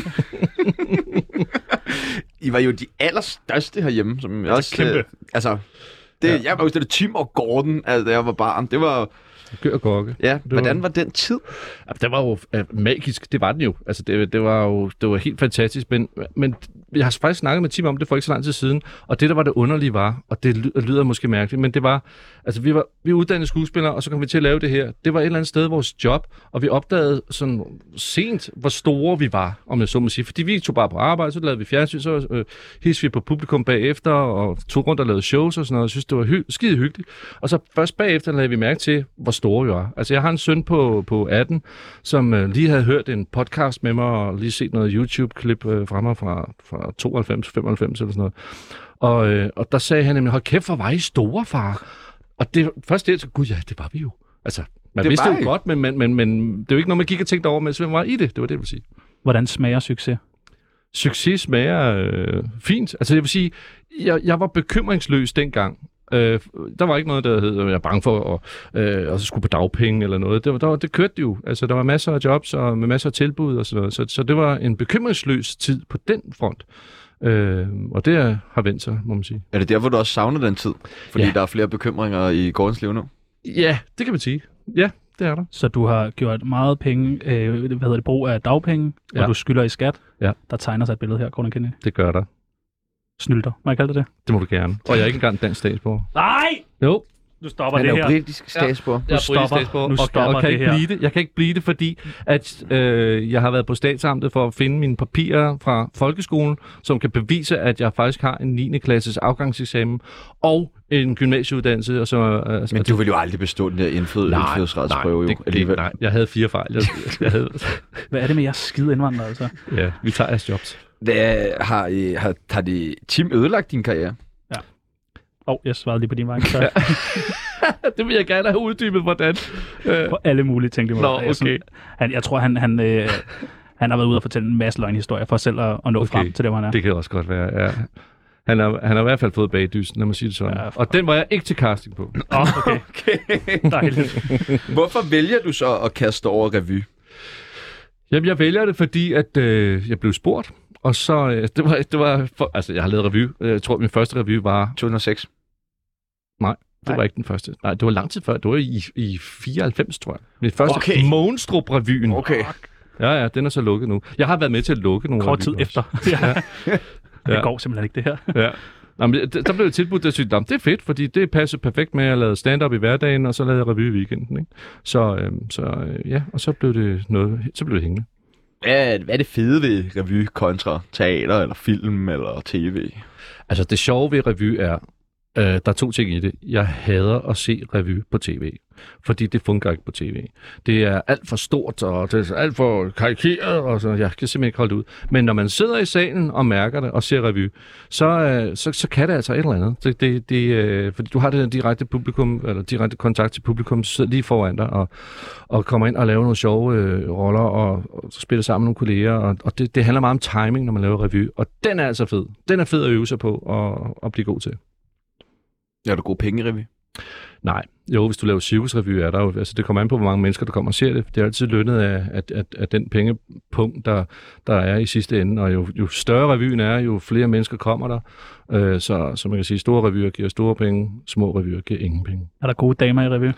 I var jo de allerstørste herhjemme, som jeg også... kæmpe. øh, altså, det, ja. jeg var jo stillet Tim og Gordon, altså, da jeg var barn. Det var, Gør gokke. ja, var- hvordan var den tid? Ja, Den var jo øh, magisk, det var den jo. Altså, det, det var jo det var helt fantastisk, men, men jeg har faktisk snakket med Tim om det for ikke så lang tid siden, og det, der var det underlige var, og det ly- lyder måske mærkeligt, men det var, altså vi var, vi var uddannede skuespillere, og så kom vi til at lave det her. Det var et eller andet sted vores job, og vi opdagede sådan sent, hvor store vi var, om jeg så må sige. Fordi vi tog bare på arbejde, så lavede vi fjernsyn, så øh, hilste vi på publikum bagefter, og tog rundt og lavede shows og sådan noget, og synes, det var hy- skide hyggeligt. Og så først bagefter lagde vi mærke til, hvor store vi var. Altså, jeg har en søn på, på 18, som øh, lige havde hørt en podcast med mig, og lige set noget YouTube-klip øh, fra mig fra, fra 92, 95 eller sådan noget. Og, øh, og der sagde han nemlig, hold kæft, hvor var I store, far. Og det, først det, så, gud ja, det var vi jo. Altså, man Det det vidste var jo I. godt, men, men, men, men det er jo ikke noget, man gik og tænkte over, mens man var i det. Det var det, jeg ville sige Hvordan smager succes? succes smager øh, fint. Altså jeg vil sige, jeg, jeg var bekymringsløs dengang. Øh, der var ikke noget, der hed, at jeg er bange for at øh, og så skulle på dagpenge eller noget. Det, var, der var, det kørte jo. Altså, der var masser af jobs og med masser af tilbud og sådan noget. Så, så det var en bekymringsløs tid på den front. Øh, og det er- har vendt sig, må man sige. Er det derfor, du også savner den tid? Fordi Ja. der er flere bekymringer i Gordons liv nu. Ja, det kan man sige. Ja, det er der. Så du har gjort meget penge, øh, hvad hedder det, brug af dagpenge, ja. Ja. og du skylder i skat. Ja. Der tegner sig et billede her, Gordon Kennedy. Det gør der. Snylter, må jeg kalde det det? Det må du gerne. Og jeg er ikke engang dansk statsborger. Nej! Jo. Du stopper Han er det jo her. britisk statsborger. Jeg stopper- nu stopper og kan det ikke her. Blive det. Jeg kan ikke blive det, fordi at, øh, jeg har været på statsamtet for at finde mine papirer fra folkeskolen, som kan bevise, at jeg faktisk har en 9. klasses afgangseksamen og en gymnasieuddannelse. Og så, øh, Men du vil jo aldrig bestå den der indfød, indfødsretsprøve nej, jo det, det, alligevel. nej, jeg havde fire fejl. Jeg, jeg havde, Hvad er det med jeres skide indvandrere, altså? ja, vi tager jeres jobs. Hvad, har, øh, har, har det Tim ødelagt din karriere? Åh, oh, jeg svarede lige på din vej. Så det vil jeg gerne have uddybet, hvordan. på alle mulige ting, det må Nå, være. Jeg er sådan- okay. Han, jeg tror, han, han, øh, han har været ude og fortælle en masse løgnhistorier for selv at, at nå okay. frem til det, hvor han er. Det kan også godt være, ja. Han har, han har i hvert fald fået bagdysen, lad mig sige det sådan. Ja, Ja, for- og den var jeg ikke til casting på. Åh, oh, okay. okay. Dejligt. Hvorfor vælger du så at kaste over revy? Jamen, jeg vælger det, fordi at øh, jeg blev spurgt, og så, øh, det var, det var for, altså, jeg har lavet revy. Øh, Jeg tror, min første revy var, 2006. det var ikke den første. Nej, det var lang tid før. Det var i, i 94, tror jeg. Min første Okay. okay. Månstrup-revyen. Okay. Ja, ja, den er så lukket nu. Jeg har været med til at lukke nogle Kort tid revyer også. efter. ja. Ja. Det går simpelthen ikke, det her. Ja. Nå, men det- der blev jeg tilbudt, at jeg synes, "Nå, men det er fedt, fordi det passer perfekt med, at jeg lavede stand-up i hverdagen, og så lavede jeg revy i weekenden. Ikke? Så, øh, så øh, ja, og så blev det noget, så blev det hængende. Hvad, hvad er det fede ved revy kontra teater, eller film, eller tv? Altså det sjove ved revy er, Øh, der er to ting i det. Jeg hader at se revy på tv, fordi det fungerer ikke på tv. Det er alt for stort, og det er alt for karikeret, og så, jeg kan simpelthen ikke holde det ud. Men når man sidder i salen og mærker det og ser revy, så, øh, så, så kan det altså et eller andet. Det, det, det, øh, fordi du har det der direkte, publikum, eller direkte kontakt til publikum sidder lige foran dig, og, og kommer ind og laver nogle sjove øh, roller, og, og spiller sammen med nogle kolleger, og, og det, det handler meget om timing, når man laver revy, og den er altså fed. Den er fed at øve sig på og, og blive god til. Er du god penge, Revy? Nej. Jo, hvis du laver cirkusrevy, er der jo, altså det kommer an på, hvor mange mennesker, der kommer og ser det. Det er altid lønnet af, at, at, at den pengepunkt, der, der er i sidste ende. Og jo, jo større revyen er, jo flere mennesker kommer der. Øh, så, så man kan sige, store revyer giver store penge, små revyer giver ingen penge. Er der gode damer i revy? Nej,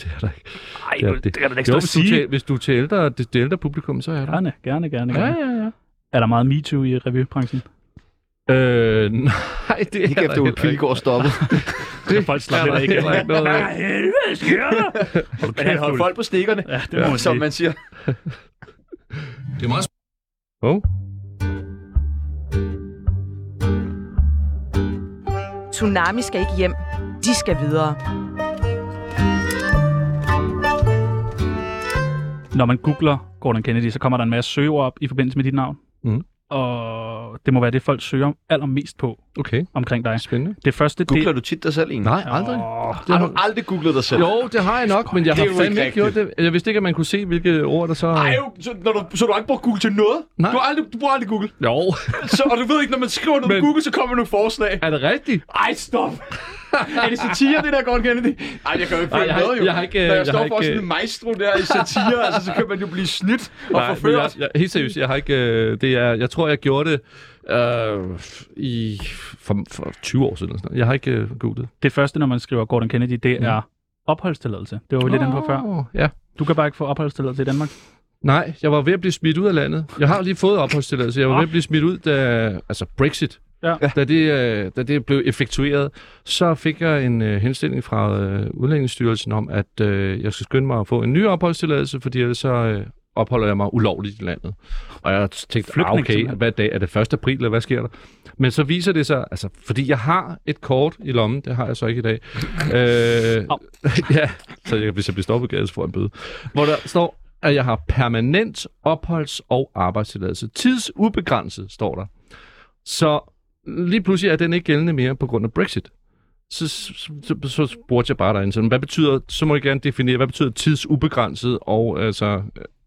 det er der ikke. Nej, Det er det, det, kan du da ikke Jo, stå hvis og du, er sige. til, hvis du er til ældre, det, det ældre publikum, så er der. Gerne, gerne, gerne, Ja, gerne. ja, ja. Er der meget MeToo i revybranchen? Øh, nej, det er Ikke der efter Ole heller ikke. Pilgaard stoppede. Det folk slår er der heller ikke. heller ikke noget af. Nej, helvede, sker der? Hold Men han kæft, holdt Ulf. folk på stikkerne, Ja, det må man som sige. man siger. Det er meget Oh. Tsunami skal ikke hjem. De skal videre. Når man googler Gordon Kennedy, så kommer der en masse søgeord op i forbindelse med dit navn. Mm. Og det må være det, folk søger allermest på Okay, omkring dig. spændende. Det første, Googler det... du tit dig selv en? Nej, aldrig. Åh, Det Har har, du aldrig googlet dig selv? jo, det har jeg nok, men jeg Det har er jo fandme ikke ikke gjort det. Jeg vidste ikke, at man kunne se, hvilke ord der så... Ej, jo, så, når du, så du har ikke brugt Google til noget? Nej. Du, har aldrig, du bruger aldrig Google. Jo, Så, og du ved ikke, når man skriver noget på Men- Google, så kommer der nogle forslag. er det rigtigt? Ej, stop! er det satire, det der, Gordon Kennedy? Ej, jeg kan jo ikke Ej, følge jeg har- med, jo. jeg har ikke, øh, Når jeg, jeg står har for ikke, sådan en øh, maestro der i satire, altså, så kan man jo blive snydt og men jeg, forført. jeg, helt seriøst, jeg har ikke... Øh, det er, jeg tror, jeg gjorde det øh, i, for, for 20 år siden. Eller sådan noget. Jeg har ikke øh, googlet. det første, når man skriver Gordon Kennedy, det Mm. er opholdstilladelse. Det var vi lidt inde på før. Åh, Ja. Du kan bare ikke få opholdstilladelse i Danmark. Nej, jeg var ved at blive smidt ud af landet. Jeg har lige fået opholdstilladelse. Jeg var Nå. ved at blive smidt ud, da, altså Brexit, Ja. da, det, øh, da det blev effektueret. Så fik jeg en øh, henstilling fra øh, Udlændingsstyrelsen om, at øh, jeg skal skynde mig at få en ny opholdstilladelse, fordi ellers så øh, opholder jeg mig ulovligt i landet. Og jeg tænkte, Flygtning, ah, okay, simpelthen. hvad dag er det 1. april, eller hvad sker der? Men så viser det sig, altså, fordi jeg har et kort i lommen, det har jeg så ikke i dag. øh, Au. ja, så jeg, hvis jeg bliver stoppet på gaden, så får jeg en bøde. Hvor der står, at jeg har permanent opholds- og arbejdstilladelse. Tidsubegrænset, står der. Så lige pludselig er den ikke gældende mere på grund af Brexit. Så, så, så, så spurgte jeg bare derinde, sådan, hvad betyder, så må jeg gerne definere, hvad betyder tidsubegrænset og altså,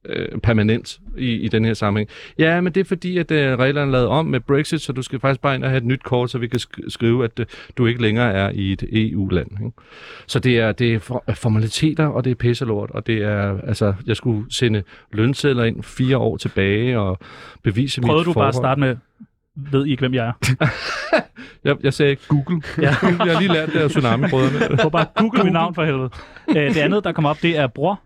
øh, permanent i, i den her sammenhæng? Ja, men det er fordi, at øh, reglerne er lavet om med Brexit, så du skal faktisk bare ind og have et nyt kort, så vi kan sk- skrive, at øh, du ikke længere er i et EU-land. Ikke? Så det er, det er for, formaliteter, og det er pisselort, og det er, altså, jeg skulle sende lønsedler ind fire år tilbage og bevise Prøvede mit du bare at forhold. starte med, ved I ikke, hvem jeg er? Jeg, jeg sagde Google. Ja. Ja. jeg har lige lært det af Tsunami-brødrene. Prøv bare at google mit navn for helvede. Øh, Det andet, der kommer op, det er bror.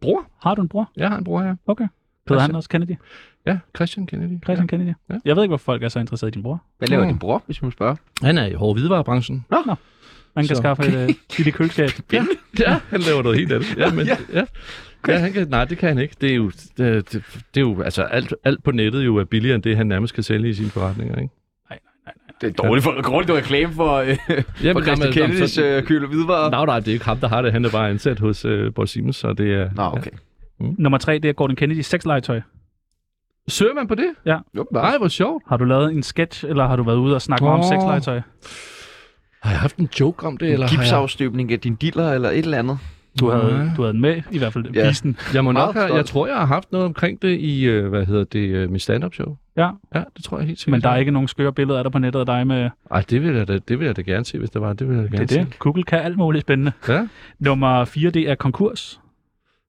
Bror? Har du en bror? Jeg har en bror, ja. Okay. Hedder han Christian. også Kennedy? Ja, Christian Kennedy. Christian Kennedy? Ja. Jeg ved ikke, hvorfor folk er så interesseret i din bror. Hvad laver Mm. din bror, hvis man spørger? Ja. Han er i hårde hvidevarebranchen. Man kan Så- skaffe et øh, lille køleskab. Ja. ja, han laver noget helt andet. Ja, men, ja. ja han kan, nej, det kan han ikke. Det er jo, det, det, det er jo altså, alt, alt på nettet jo er billigere end det, han nærmest kan sælge i sine forretninger. Ikke? Det er dårligt for, dårligt reklame for, øh, Jamen, for Christian Kennedys øh, køl og hvidvarer. Nej, nej, det er ikke ham, der har det. Han er bare ansat hos øh, Borg Siemens, så det er... Nå, okay. Nummer tre, det er Gordon Kennedy sexlegetøj. Søger man på det? Jo, bare. Nej, hvor sjovt. Har du lavet en sketch, eller har du været ude og snakke oh. om Åh. sexlegetøj? Har jeg haft en joke om det, eller har jeg... Gipsafstøbning af din diller eller et eller andet. Du havde, Nej. du havde den med, i hvert fald Ja. ja. visen. Jeg må Meget nok have, jeg stolt. tror, jeg har haft noget omkring det i, øh, hvad hedder det, øh, mit stand-up show. Ja. Ja, det tror jeg helt sikkert. Men der er ikke nogen skøre billeder af dig på nettet af dig med... Ej, det vil jeg da, det vil jeg da gerne se, hvis der var. Det vil jeg da gerne Det er det. Google kan alt muligt spændende. se. Ja. Nummer 4, det er konkurs.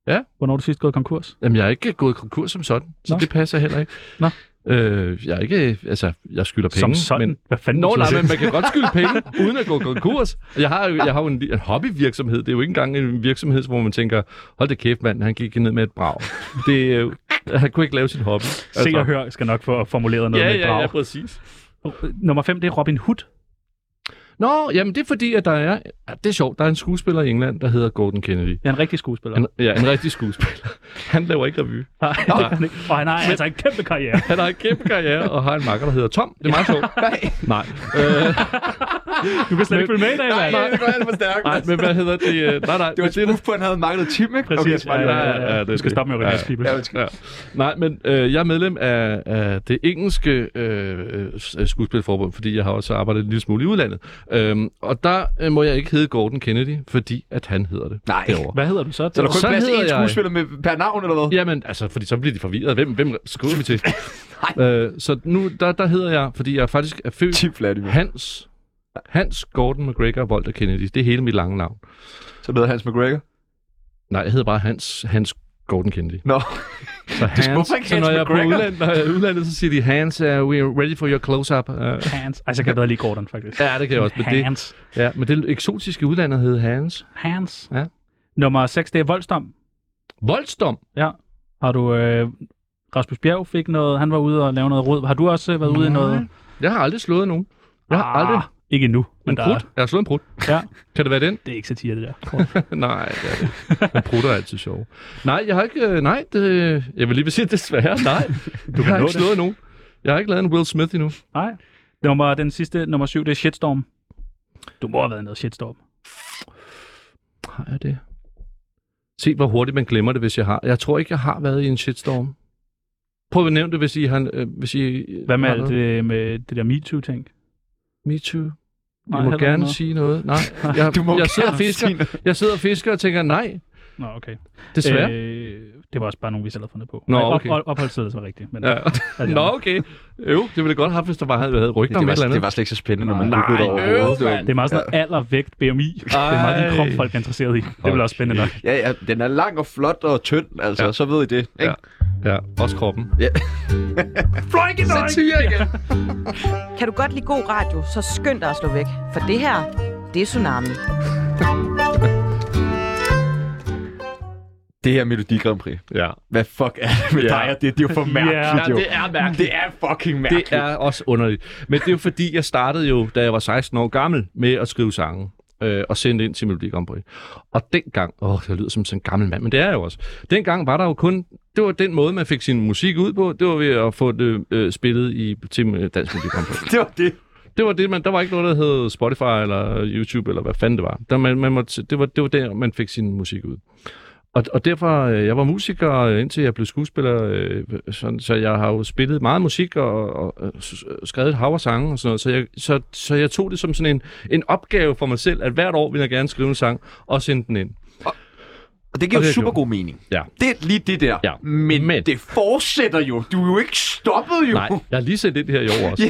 Ja. Hvornår er du sidst gået konkurs? Jamen, jeg er ikke gået konkurs som sådan, så Nå. Nå. det passer heller ikke. Nå. Øh, jeg er ikke, altså, jeg skylder penge. Som sådan. Men, Hvad fanden Nå, betyder nej, det? men man kan godt skylde penge, uden at gå konkurs. Jeg har jo, jeg har jo en, en hobbyvirksomhed. Det er jo ikke engang en virksomhed, hvor man tænker, hold da kæft, mand, han gik ned med et brag. Det, øh, han kunne ikke lave sin hobby. Se og hør skal nok få formuleret noget Altså. Ja, med et ja, ja, brag. præcis. Nummer 5, det er Robin Hood. Nå, jamen det er fordi, at der er... Ja, det er sjovt, der er en skuespiller i England, der hedder Gordon Kennedy. Jeg er en rigtig skuespiller. Han, ja, en rigtig skuespiller. Han laver ikke revy. Nej, det gør han ikke. Og han har altså en kæmpe karriere. Han har en kæmpe karriere og har en makker, der hedder Tom. Det er meget sjovt. Nej. Øh, Du kan slet ikke følge med i dag, mand. Nej, det går alt for stærkt. nej, men hvad hedder det? Øh, Nej, nej. Det var men et spoof på, at han havde manglet Tim, ikke? Præcis. Okay, ja, ja, ja, det er du skal det. stoppe med at Ja, ringe people. ja, undskyld. Ja. Nej, men øh, jeg er medlem af, af det engelske øh, øh, s- skuespilforbund, fordi jeg har også arbejdet en lille smule i udlandet. Øhm, og der øh, må jeg ikke hedde Gordon Kennedy, fordi at han hedder det. Nej. Derovre. Hvad hedder du så? Så der kunne Sådan ikke plads til hedder én jeg. skuespiller med, per navn, eller hvad? Jamen, altså, fordi så bliver de forvirret. Hvem, hvem skriver vi til? øh, så nu, der, der hedder jeg, fordi jeg faktisk er født Tim Vladimir. Hans, Hans Gordon McGregor Walter Kennedy. Det er hele mit lange navn. Så hedder Hans McGregor. Nej, jeg hedder bare Hans, Hans Gordon Kennedy. Nå, Så Hans, hvorfor ikke så Hans når jeg er på McGregor? udlandet, når jeg er i udlandet, så siger de, Hans, uh, we are ready for your close-up. Uh, Hans. Ej, så kan jeg bedre lige Gordon, faktisk. ja, det kan jeg også. Men det, Hans. ja, men det eksotiske udlandet hed Hans. Hans. Ja. Nummer 6, det er voldsdom. Voldsdom. Ja. Har du... Øh, Rasmus Bjerg fik noget... Han var ude og lave noget rod. Har du også øh, været ude i noget... Jeg har aldrig slået nogen. Jeg har aldrig. Ah, ikke nu, men En der er, prut? Jeg har slået en prut. Ja. Kan det være den? det er ikke satire, det der. nej, det er det. ikke. Men prutter er altid sjov. Nej, jeg har ikke... øh, Nej, det, jeg vil lige vil sige, desværre, nej. Du jeg har nå ikke det. slået nogen. Jeg har ikke lavet en Will Smith endnu. Nej. Nummer, den sidste, nummer 7, det er shitstorm. Du må have været i noget shitstorm. Har jeg det? Se, hvor hurtigt man glemmer det, hvis jeg har. Jeg tror ikke, jeg har været i en shitstorm. Prøv at nævne det, hvis I har... Øh, hvis I, Hvad med har alt noget. det, med det der MeToo-ting? Me too. Nej, Jeg må heller ikke gerne noget. sige noget. Nej, jeg, du må jeg, sidder og gerne fisker, sige noget. jeg sidder og fisker og tænker, nej, Nå, okay. desværre. Øh, Øh, det var også bare nogen, vi selv havde fundet på. Nå, Nej, op- okay. Op, opholdstilladelse var rigtigt. Men, Altså, ja. jeg- Nå, okay. Jo, det ville jeg godt have, haft, hvis der bare havde været rygter det, om et var, eller andet. det var slet ikke så spændende, når man Nej, googlede over øv, hovedet. Det var- mand. Det er meget sådan noget alder, vægt, BMI. Det er meget Ej. din krop, folk er interesseret i. Det er vel også spændende nok. Ja, ja, den er lang og flot og tynd, altså, Ja. så ved I det. Ikke? Ja. Ja, også kroppen. Satire igen. Kan du godt lide god radio, så skynd dig at slå væk. For det her, det er Tsunami. Det her Melodi Grand Prix. Ja. Hvad fuck er det med Ja. dig og det? Det er jo for mærkeligt, Ja, jo. er mærkeligt. Det er fucking Det mærkeligt. er også underligt. Men det er jo fordi, jeg startede jo, da jeg var 16 år gammel, med at skrive sange øh, og sende ind til Melodi Grand Prix. Og dengang, åh, det lyder som sådan en gammel mand, men det er jeg jo også. Dengang var der jo kun, det var den måde, man fik sin musik ud på, det var ved at få det øh, spillet i, til øh, Dansk Melodi Grand Prix. Det var det. Det var det, man, der var ikke noget, der hed Spotify eller YouTube, eller hvad fanden det var. Der, man, man måtte, det, var det var der, man fik sin musik ud. Og, og derfor, øh, jeg var musiker, øh, indtil jeg blev skuespiller, øh, sådan, så jeg har jo spillet meget musik og, og, og s- øh, skrevet et hav af sange og sådan noget, så jeg, så, så jeg tog det som sådan en, en opgave for mig selv, at hvert år ville jeg gerne skrive en sang og sende den ind. Og det giver Og det jo er super sjovt. god mening. Ja. Det er lige det der. Ja. Men, Men- det fortsætter jo. Du er jo ikke stoppet, jo. Nej, jeg har lige sendt ind det her i år også.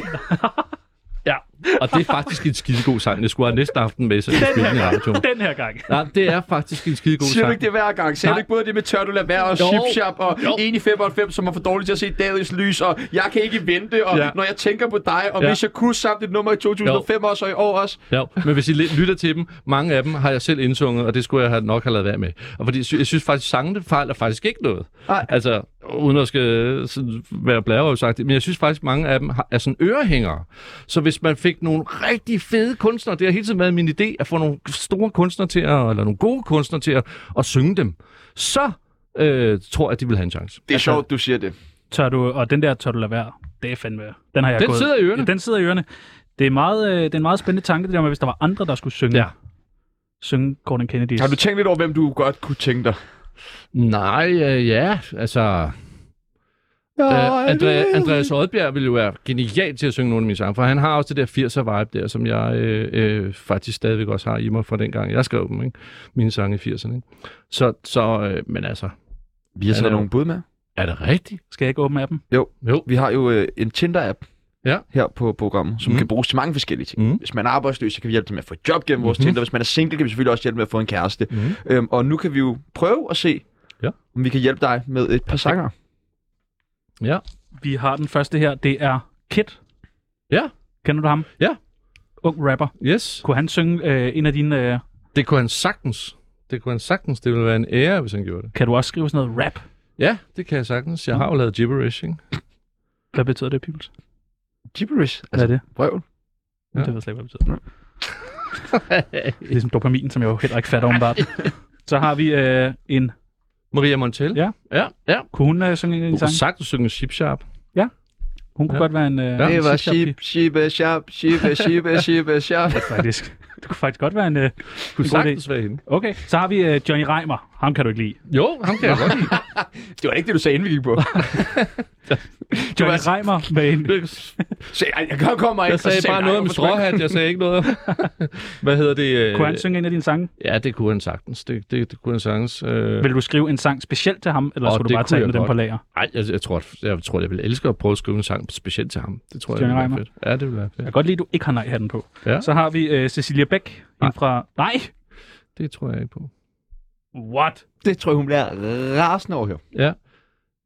ja, og det er faktisk en skidegod sang. Jeg skulle have næste aften med, så jeg skulle spille den i radioen. Den her gang. Nej, det er faktisk en skidegod Siger du sang. ikke det hver gang? Siger du Nej. ikke både det med tør, du lader være, og Jo. chip shop, og Jo. en i 95, som er for dårlig til at se dagens lys, og jeg kan ikke vente, og Ja. når jeg tænker på dig, og Ja. hvis jeg kunne samt et nummer i 2005 også, og i år også. Ja, men hvis I lidt lytter til dem, mange af dem har jeg selv indsunget, og det skulle jeg have- nok have lavet være med. Og fordi jeg sy- jeg synes faktisk, sangene fejler faktisk ikke noget. Nej. Altså, uden at skal øh, sådan være blæreøvsagtig, men jeg synes faktisk, mange af dem har, er sådan ørehængere. Så hvis man fik nogle rigtig fede kunstnere, det har hele tiden været min idé, at få nogle store kunstnere til at, eller nogle gode kunstnere til at, at synge dem, så øh, tror jeg, at de vil have en chance. Det er sjovt, du siger det. Tør du, og den der tør du lade være, det er fandme... Den, har jeg Den gået, sidder i ørerne. Ja, den sidder i ørerne. Det er, meget, øh, det er en meget spændende tanke, det der med, hvis der var andre, der skulle synge, Ja. synge Gordon Kennedy. Har du tænkt lidt over, hvem du godt kunne tænke dig? Nej, øh, ja, altså... Øh, Andrea, Andreas Oddbjerg ville jo være genial til at synge nogle af mine sange, for han har også det der 80'er vibe der, som jeg øh, øh, faktisk stadigvæk også har i mig fra dengang jeg skrev dem, ikke? mine sange i 80'erne. Ikke? Så, så øh, men altså, Vi har taget taget nogle nogle bud med. er det rigtigt? Skal jeg ikke åbne appen? Jo. Vi har jo øh, en Tinder-app Ja. her på programmet, som Mm. kan bruges til mange forskellige ting. Mm. Hvis man er arbejdsløs, så kan vi hjælpe dem med at få et job gennem vores Mhm. Tinder. Hvis man er single, kan vi selvfølgelig også hjælpe med at få en kæreste. Mm-hmm. Mm. Øhm, og nu kan vi jo prøve at se, Ja. om vi kan hjælpe dig med et par sanger. Ja. Vi har den første her, det er Kit. Ja. Kender du ham? Ja. Ung rapper. Yes. Kunne han synge øh, en af dine... Øh, Det kunne han sagtens. Det kunne han sagtens. Det ville være en ære, hvis han gjorde det. kan du også skrive sådan noget rap? Ja, det kan jeg sagtens. Jeg har Mm. jo lavet gibberish, ikke? Hvad betyder det, Pibels? Gibberish. Hvad er det? Altså, Brøvl. Ja. Det ved jeg slet ikke, hvad det betyder. Ligesom dopamin, som jeg jo heller ikke fatter åbenbart. Så har vi øh, en... Maria Montel. Ja. Ja, ja. Kunne hun øh, synge en Du kunne sang? sagtens synge Ship Sharp. Hun kunne Ja. godt være en... Øh, Ja. en Det var sidste- ship, ship, shop, ship, ship, ship, shop. Faktisk. Det kunne faktisk godt være en... Øh, Du kunne God idé. sagtens være hende. okay, så har vi øh, Johnny Reimer. Ham kan du ikke lide. Jo, ham kan jeg godt lide. Det var ikke det, du sagde, inden vi gik på. Johnny altså- Reimer med en... Se, ej, jeg kommer ikke. Jeg sagde bare noget om stråhat, jeg sagde ikke noget om... Hvad hedder det? øh, Kunne han synge en af dine sange? Ja, det kunne han sagtens. Det, det, det kunne han sagtens. Øh... Vil du skrive en sang specielt til ham, eller Åh, skulle du det bare kunne tage jeg med den godt. på lager? Ej, jeg, jeg, tror, at- jeg tror, jeg vil elske at prøve at skrive en sang specielt til ham. Det tror jeg, Stjerne det ville Reimer. være fedt. Ja, det ville være Jeg fedt. kan godt lide, at du ikke har nej-hatten på. Ja. Så har vi øh, Cecilia Bæk Nej. ind fra... Nej! Det tror jeg ikke på. What? Det tror jeg, hun bliver rasende over her. Ja.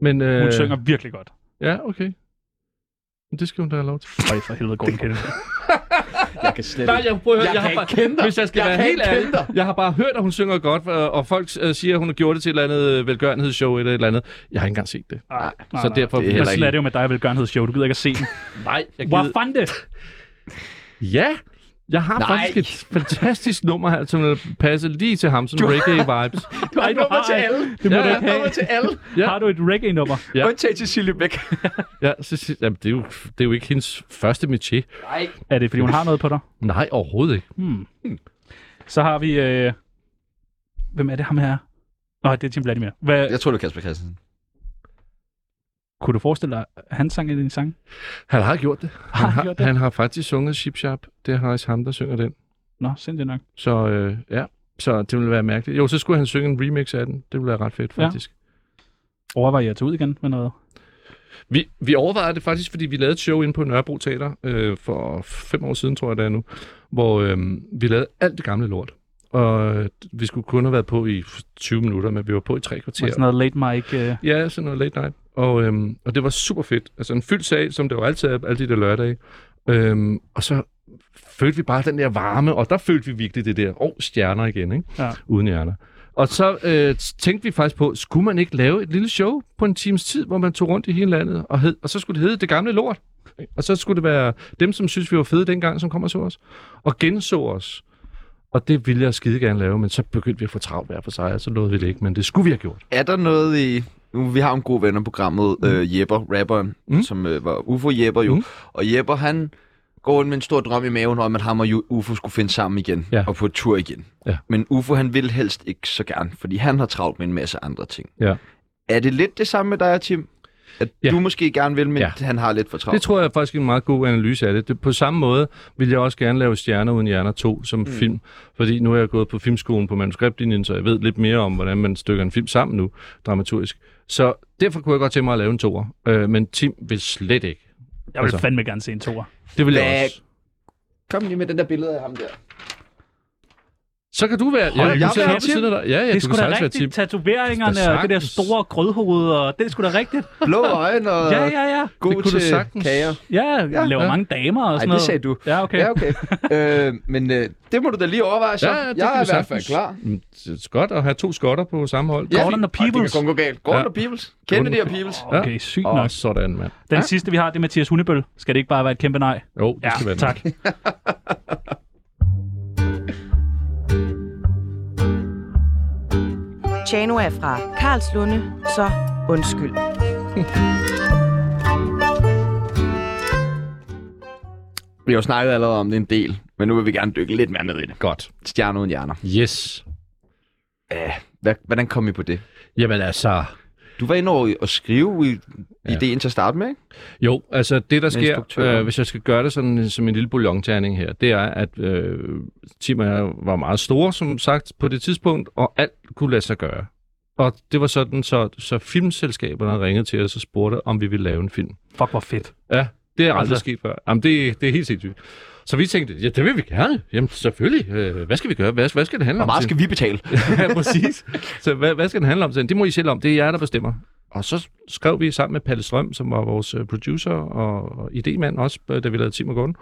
Men, øh... Hun synger virkelig godt. Ja, okay. Men det skal hun da have lov til. Øj, for helvede, Gordon Kennedy. Jeg kan slet Nej, jeg prøver at høre, Jeg jeg, kan har ikke kende dig. bare, hvis jeg skal Jeg være kan helt ikke ærlig, kende dig. jeg har bare hørt, at hun synger godt, og, og folk øh, siger, at hun har gjort det til et eller andet øh, velgørenhedsshow eller et eller andet. Jeg har ikke engang set det. Nej, nej, så nej. derfor Det er Men heller sådan ikke. er det jo med dig og velgørenhedsshow. Du gider ikke at se den. Nej, jeg Hvor gider... fanden det? Ja, jeg har Nej. faktisk et fantastisk nummer her, som passer lige til ham, sådan reggae-vibes. Du har Ej, et du nummer har til et. alle. Det må Ja, du ja, ikke have. Til alle. Ja. Har du et reggae-nummer? Ja. Undtagen til Silje Bæk. Ja, så, sig- jamen, det, er jo, det er jo ikke hendes første métier. Er det, fordi hun har noget på dig? Nej, overhovedet ikke. Hmm. Så har vi... Øh... Hvem er det ham her? Nå, det er Tim Vladimir. Hvad, Jeg tror, det er Kasper Christensen. Kunne du forestille dig, at han sang en af dine sange? Han har gjort det. Han han har, gjort det? han har faktisk sunget Ship Sharp. Det har også ham, der synger den. Nå, sindssygt nok. Så øh, ja, så det ville være mærkeligt. Jo, så skulle han synge en remix af den. Det ville være ret fedt, Ja. faktisk. Ja. Overvejer jeg at tage ud igen med noget? Vi, vi overvejede det faktisk, fordi vi lavede et show inde på Nørrebro Teater øh, for fem år siden, tror jeg det er nu, hvor øh, vi lavede alt det gamle lort. Og øh, vi skulle kun have været på i 20 minutter, men vi var på i tre Med kvarter. sådan noget late mic. Øh... Ja, sådan noget late night. Og, øhm, og det var super fedt. Altså en fyldt sal, som det jo altid er, alle de der lørdage. Øhm, og så følte vi bare den der varme, og der følte vi virkelig det der, åh, oh, stjerner igen, ikke? Ja. Uden hjerner. Og så øh, tænkte vi faktisk på, skulle man ikke lave et lille show på en times tid, hvor man tog rundt i hele landet, og, hed, og så skulle det hedde Det Gamle Lort. Og så skulle det være dem, som synes, vi var fede dengang, som kom og så os, og genså os. Og det ville jeg skide gerne lave, men så begyndte vi at få travlt hver for sig, og så nåede vi det ikke, men det skulle vi have gjort. Er der noget i... Nu, vi har jo en god ven af programmet, mm. øh, Jepper, rapperen, Mm. mm. som øh, var UFO-Jepper jo. Mm. Mm. Og Jepper, han går ind med en stor drøm i maven om, at ham og Ju- UFO skulle finde sammen igen. Ja. Og på tur igen. Ja. Men UFO, han vil helst ikke så gerne, fordi han har travlt med en masse andre ting. Ja. Er det lidt det samme med dig, Tim? At Ja. ja. du måske gerne vil, men Ja. ja. han har lidt for travlt? Det tror jeg er faktisk en meget god analyse af det. det. På samme måde vil jeg også gerne lave Stjerner uden hjerner 2 som mm. film, fordi nu er jeg gået på filmskolen på manuskriptlinjen, så jeg ved lidt mere om, hvordan man stykker en film sammen nu, dramaturgisk. Så derfor kunne jeg godt tænke mig at lave en toer, øh, men Tim vil slet ikke. Jeg vil Altså. fandme gerne se en toer. Det vil jeg Hvad? også. Kom lige med den der billede af ham der. Så kan du være... Ja, Hold du da sidder kæft. oppe ved siden af dig. Ja, ja, det du kan skulle da sagtens være Tim. rigtigt. Tatoveringerne og det der Sagtens. store grødhoved, og det skulle da rigtigt. Blå øjne og Ja, ja, ja. god Det kunne du til sagtens. kager. Ja, jeg laver ja. mange damer og Nej, sådan det noget. sagde du. Ja, okay. Ja, okay. øh, men øh, det må du da lige overveje, så. Ja, ja, det kan jeg er vi i hvert fald sagtens. klar. Mm, Det er godt at have to skotter på samme hold. Ja, Gordon og Det Peoples. kan kun gå galt. Gordon Ja. og Peoples. Kennedy og Peoples. Ja. Okay, sygt Åh, nok. sådan, mand. Den sidste, vi har, det er Mathias Hundebøl. Skal det ikke bare være et kæmpe nej? Jo, det skal Ja, være tak. Tjano er fra Karlslunde, så undskyld. Vi har jo snakket allerede om det en del, men nu vil vi gerne dykke lidt mere ned i det. Godt. Stjerne uden hjerner. Yes. Hvad, hvordan kom I på det? Jamen altså... Du var inde over i- at skrive i Ja. ja. ideen til at starte med, ikke? Jo, altså det, der sker, instruktøren. øh, hvis jeg skal gøre det sådan som en lille bouillonterning her, det er, at øh, Tim og jeg var meget store, som sagt, på det tidspunkt, og alt kunne lade sig gøre. Og det var sådan, så, så filmselskaberne ringede til os og spurgte, om vi ville lave en film. Fuck, hvor fedt. Ja, det er aldrig Altså- altså. sket før. Jamen, det, det er helt sindssygt. Så vi tænkte, ja, det vil vi gerne. Jamen, selvfølgelig. Øh, hvad skal vi gøre? Hvad, hvad skal det handle Hvor om? meget Tim? skal vi betale? ja, præcis. Så hvad, hvad skal den handle om? Så Det må I selv om. Det er jer, der bestemmer. Og så skrev vi sammen med Palle Strøm, som var vores øh, producer og og idémand også, øh, da vi lavede Tim og Gordon.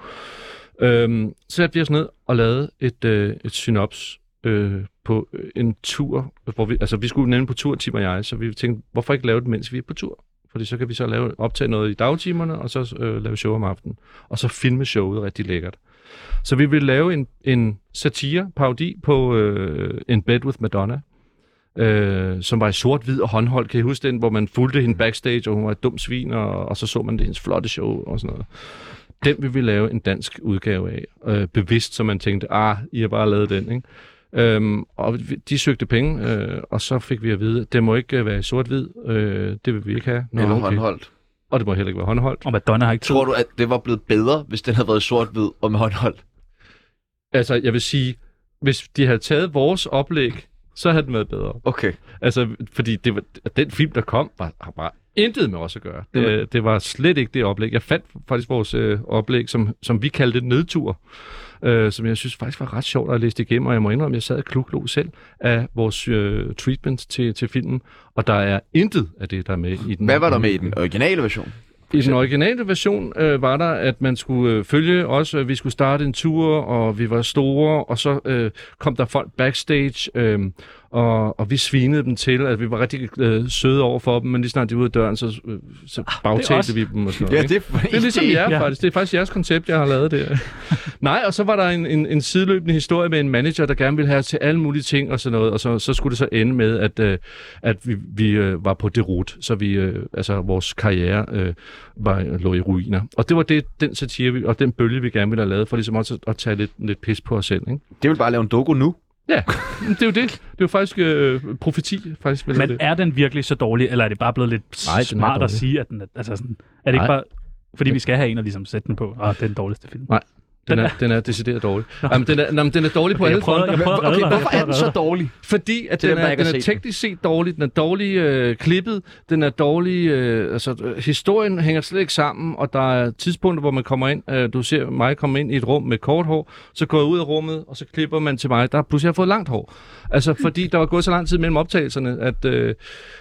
Øhm, så satte vi os ned og lavede et, øh, et synops øh, på en tur. Hvor vi, altså, vi skulle nemlig på tur, Tim og jeg, så vi tænkte, hvorfor ikke lave det, mens vi er på tur? fordi så kan vi så lave, optage noget i dagtimerne, og så øh, lave show om aftenen. Og så filme showet rigtig lækkert. Så vi vil lave en, en satire, parodi på øh, In Bed With Madonna, øh, som var i sort-hvid og håndholdt. Kan I huske den, hvor man fulgte hende backstage, og hun var et dumt svin, og, og så så man det hendes flotte show og sådan noget. Den vil vi lave en dansk udgave af, øh, bevidst, så man tænkte, ah, I har bare lavet den, ikke? Øhm, og vi- de søgte penge, øh, og så fik vi at vide, at det må ikke øh, være i sort-hvid, øh, det vil vi ikke have. Nå, Eller okay. håndholdt. Og det må heller ikke være håndholdt. Og Madonna har ikke tid. Tror du, at det var blevet bedre, hvis den havde været sort-hvid og med håndholdt? Altså, jeg vil sige, hvis de havde taget vores oplæg, så havde den været bedre. Okay. Altså, fordi det var, den film, der kom, var, har bare intet med os at gøre. Det, øh, det var slet ikke det oplæg. Jeg fandt faktisk vores øh, oplæg, som, som vi kaldte et nedtur, øh, som jeg synes faktisk var ret sjovt at læse igennem, og jeg må indrømme, at jeg sad og kluklog selv af vores øh, treatment til, til filmen, og der er intet af det, der er med i den. Hvad var der med i den originale version? I den originale version øh, var der, at man skulle øh, følge os, øh, vi skulle starte en tur, og vi var store, og så øh, kom der folk backstage, øh, og, og vi svinede dem til, at vi var rigtig øh, søde over for dem, men lige snart de var ude af døren, så, øh, så bagtalte også- vi dem og sådan noget. ikke? er, Det er ligesom jer, Ja. ja. faktisk. Det er faktisk jeres koncept, jeg har lavet der. Nej, og så var der en, en, en sideløbende historie med en manager, der gerne ville have os til alle mulige ting og sådan noget, og så, så skulle det så ende med, at, øh, at vi, vi øh, var på det rute, så vi, øh, altså, vores karriere øh, var, lå i ruiner. Og det var det, den satire vi, og den bølge, vi gerne ville have lavet, for ligesom også at, at tage lidt, lidt pis på os selv. Ikke? det vil bare lave en doku nu. Ja, men det er jo det. Det er jo faktisk øh, profeti, faktisk. vel, Men det. er den virkelig så dårlig, eller er det bare blevet lidt Nej, den Nej, er smart dårlig. at sige, at den er, altså sådan, er det ikke Nej. bare, fordi vi skal have en og ligesom sætte den på, og det er den dårligste film. Nej, den den er, den er decideret dårlig. Jamen, den er, jamen, den er dårlig på Okay, alle jeg prøver, fronter. jeg prøver at redde dig. Hvorfor er den så dårlig? Fordi at Til den dem, der er, ikke den har er set den. teknisk set dårlig, den er dårlig øh, klippet, den er dårlig, øh, altså øh, historien hænger slet ikke sammen, og der er tidspunkter, hvor man kommer ind, øh, du ser mig komme ind i et rum med kort hår, så går jeg ud af rummet, og så klipper man til mig, der pludselig har jeg fået langt hår. Altså fordi der var gået så lang tid mellem optagelserne, at, øh,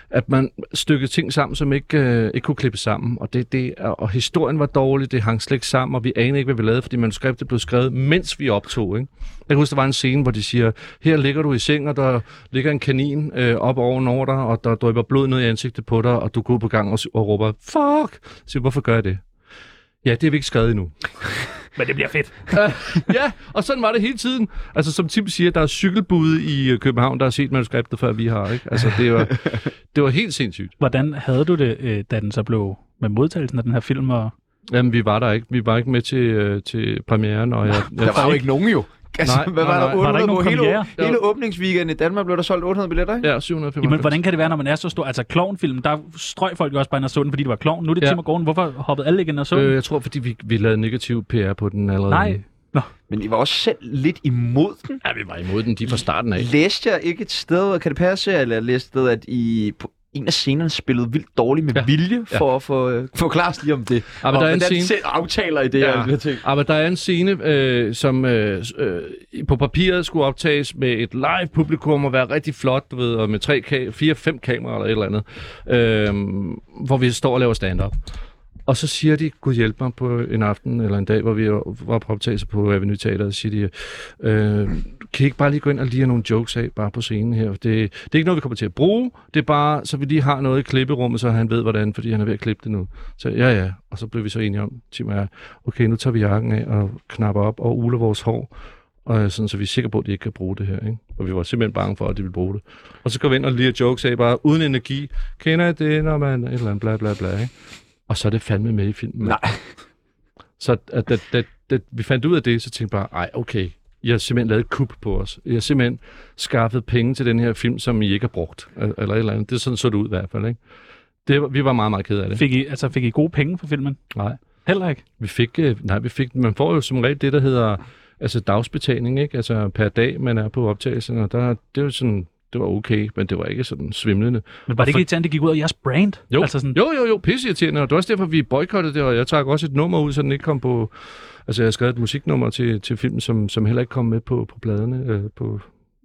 at man stykkede ting sammen, som ikke, øh, ikke kunne klippe sammen, og, det, det, er- og historien var dårlig, det hang slet ikke sammen, og vi anede ikke, hvad vi lavede, fordi manuskriptet blev skrevet, mens vi optog, ikke? Jeg kan huske, der var en scene, hvor de siger, her ligger du i seng, og der ligger en kanin øh, op ovenover dig, og der drypper blod ned i ansigtet på dig, og du går ud på gangen og, s- og råber, fuck! Så siger, jeg, hvorfor gør jeg det? Ja, det har vi ikke skrevet endnu. Men det bliver fedt. ja, og sådan var det hele tiden. Altså, som Tim siger, der er cykelbude i øh, København, der har set manuskriptet, før vi har, ikke? Altså, det var, det var helt sindssygt. Hvordan havde du det, øh, da den så blev med modtagelsen af den her film? Og... Jamen, vi var der ikke. Vi var ikke med til, øh, til premieren, og jeg, jeg, Der var jo ikke nogen jo. Altså, Nej, hvad nej, var der? nej. Var der ikke 800 nogen hele, premiere? hele åbningsweekenden i Danmark blev der solgt 800 billetter, ikke? Ja, 795. Jamen, hvordan kan det være, når man er så stor? Altså, klovnfilm, der strøg folk jo også bare ind og så den, fordi det var klovn. Nu er det Ja. ja. Tim og Gordon. Hvorfor hoppede alle ikke ind og så den? Øh, jeg tror, fordi vi, vi lavede negativ PR på den allerede. Nej. Nå. Men I var også selv lidt imod den. Ja, vi var imod den lige fra starten af. Læste jeg ikke et sted, kan det passe, eller jeg læste et sted, at I på en af scenerne spillede vildt dårligt med Ja. ja. vilje, for at få øh, forklare os lige om det. Ja, men Og der er hvordan en scene- selv aftaler i det Ja. her ja. ting. Ja, men der er en scene, øh, som øh, øh, på papiret skulle optages med et live publikum og være rigtig flot, du ved, og med tre, ka- fire, fem kameraer eller et eller andet, øh, hvor vi står og laver stand-up. Og så siger de, Gud hjælp mig på en aften eller en dag, hvor vi var på optagelse på Avenue Teater, og siger de, øh, kan I ikke bare lige gå ind og lige have nogle jokes af bare på scenen her? Det, det er ikke noget, vi kommer til at bruge, det er bare, så vi lige har noget i klipperummet, så han ved hvordan, fordi han er ved at klippe det nu. Så ja, ja, og så blev vi så enige om, Tim og jeg, okay, nu tager vi jakken af og knapper op og uler vores hår, og øh, sådan, så vi er sikre på, at de ikke kan bruge det her. Ikke? Og vi var simpelthen bange for, at de ville bruge det. Og så går vi ind og lige jokes af, bare uden energi. Kender I det, når man et eller andet bla bla bla. Ikke? Og så er det fandme med i filmen. Nej. Så at, at, at, at, vi fandt ud af det, så tænkte jeg bare, ej, okay, I har simpelthen lavet et kup på os. I har simpelthen skaffet penge til den her film, som I ikke har brugt. Eller eller et eller andet. Det er sådan så det ud i hvert fald. Ikke? Det, var- vi var meget, meget kede af det. Fik I, altså, fik I gode penge for filmen? Nej. Heller ikke. Vi fik, øh, nej, vi fik, man får jo som regel det, der hedder altså dagsbetaling, ikke? Altså per dag, man er på optagelsen, og der, det var sådan, det var okay, men det var ikke sådan svimlende. Men var for- det ikke irriterende, det gik ud af jeres brand? Jo, altså sådan, jo, jo, jo pisseirriterende, og det var også derfor, vi boykottede det, og jeg trak også et nummer ud, så den ikke kom på... Altså, jeg har skrevet et musiknummer til, til filmen, som, som heller ikke kom med på, på pladerne, øh, på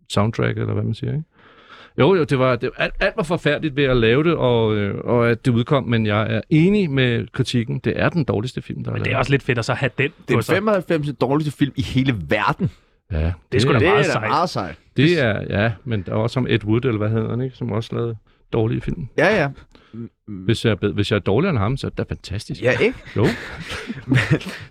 soundtrack, eller hvad man siger, ikke? Jo, jo, det var, det, alt, alt var forfærdeligt ved at lave det, og, øh, og at det udkom, men jeg er enig med kritikken. Det er den dårligste film, der er Men det er lavet. også lidt fedt at så have den Det på er sig. 95. dårligste film i hele verden. Ja, det, sgu da Det er Meget da sejt. meget sejt. Det er, ja, men der er også som Ed Wood, eller hvad hedder han, ikke? Som også lavede dårlige film. Ja, ja. Hvis jeg, er bed- hvis jeg er dårligere end ham, så er det da fantastisk. Mm. Ja, ikke? Jo.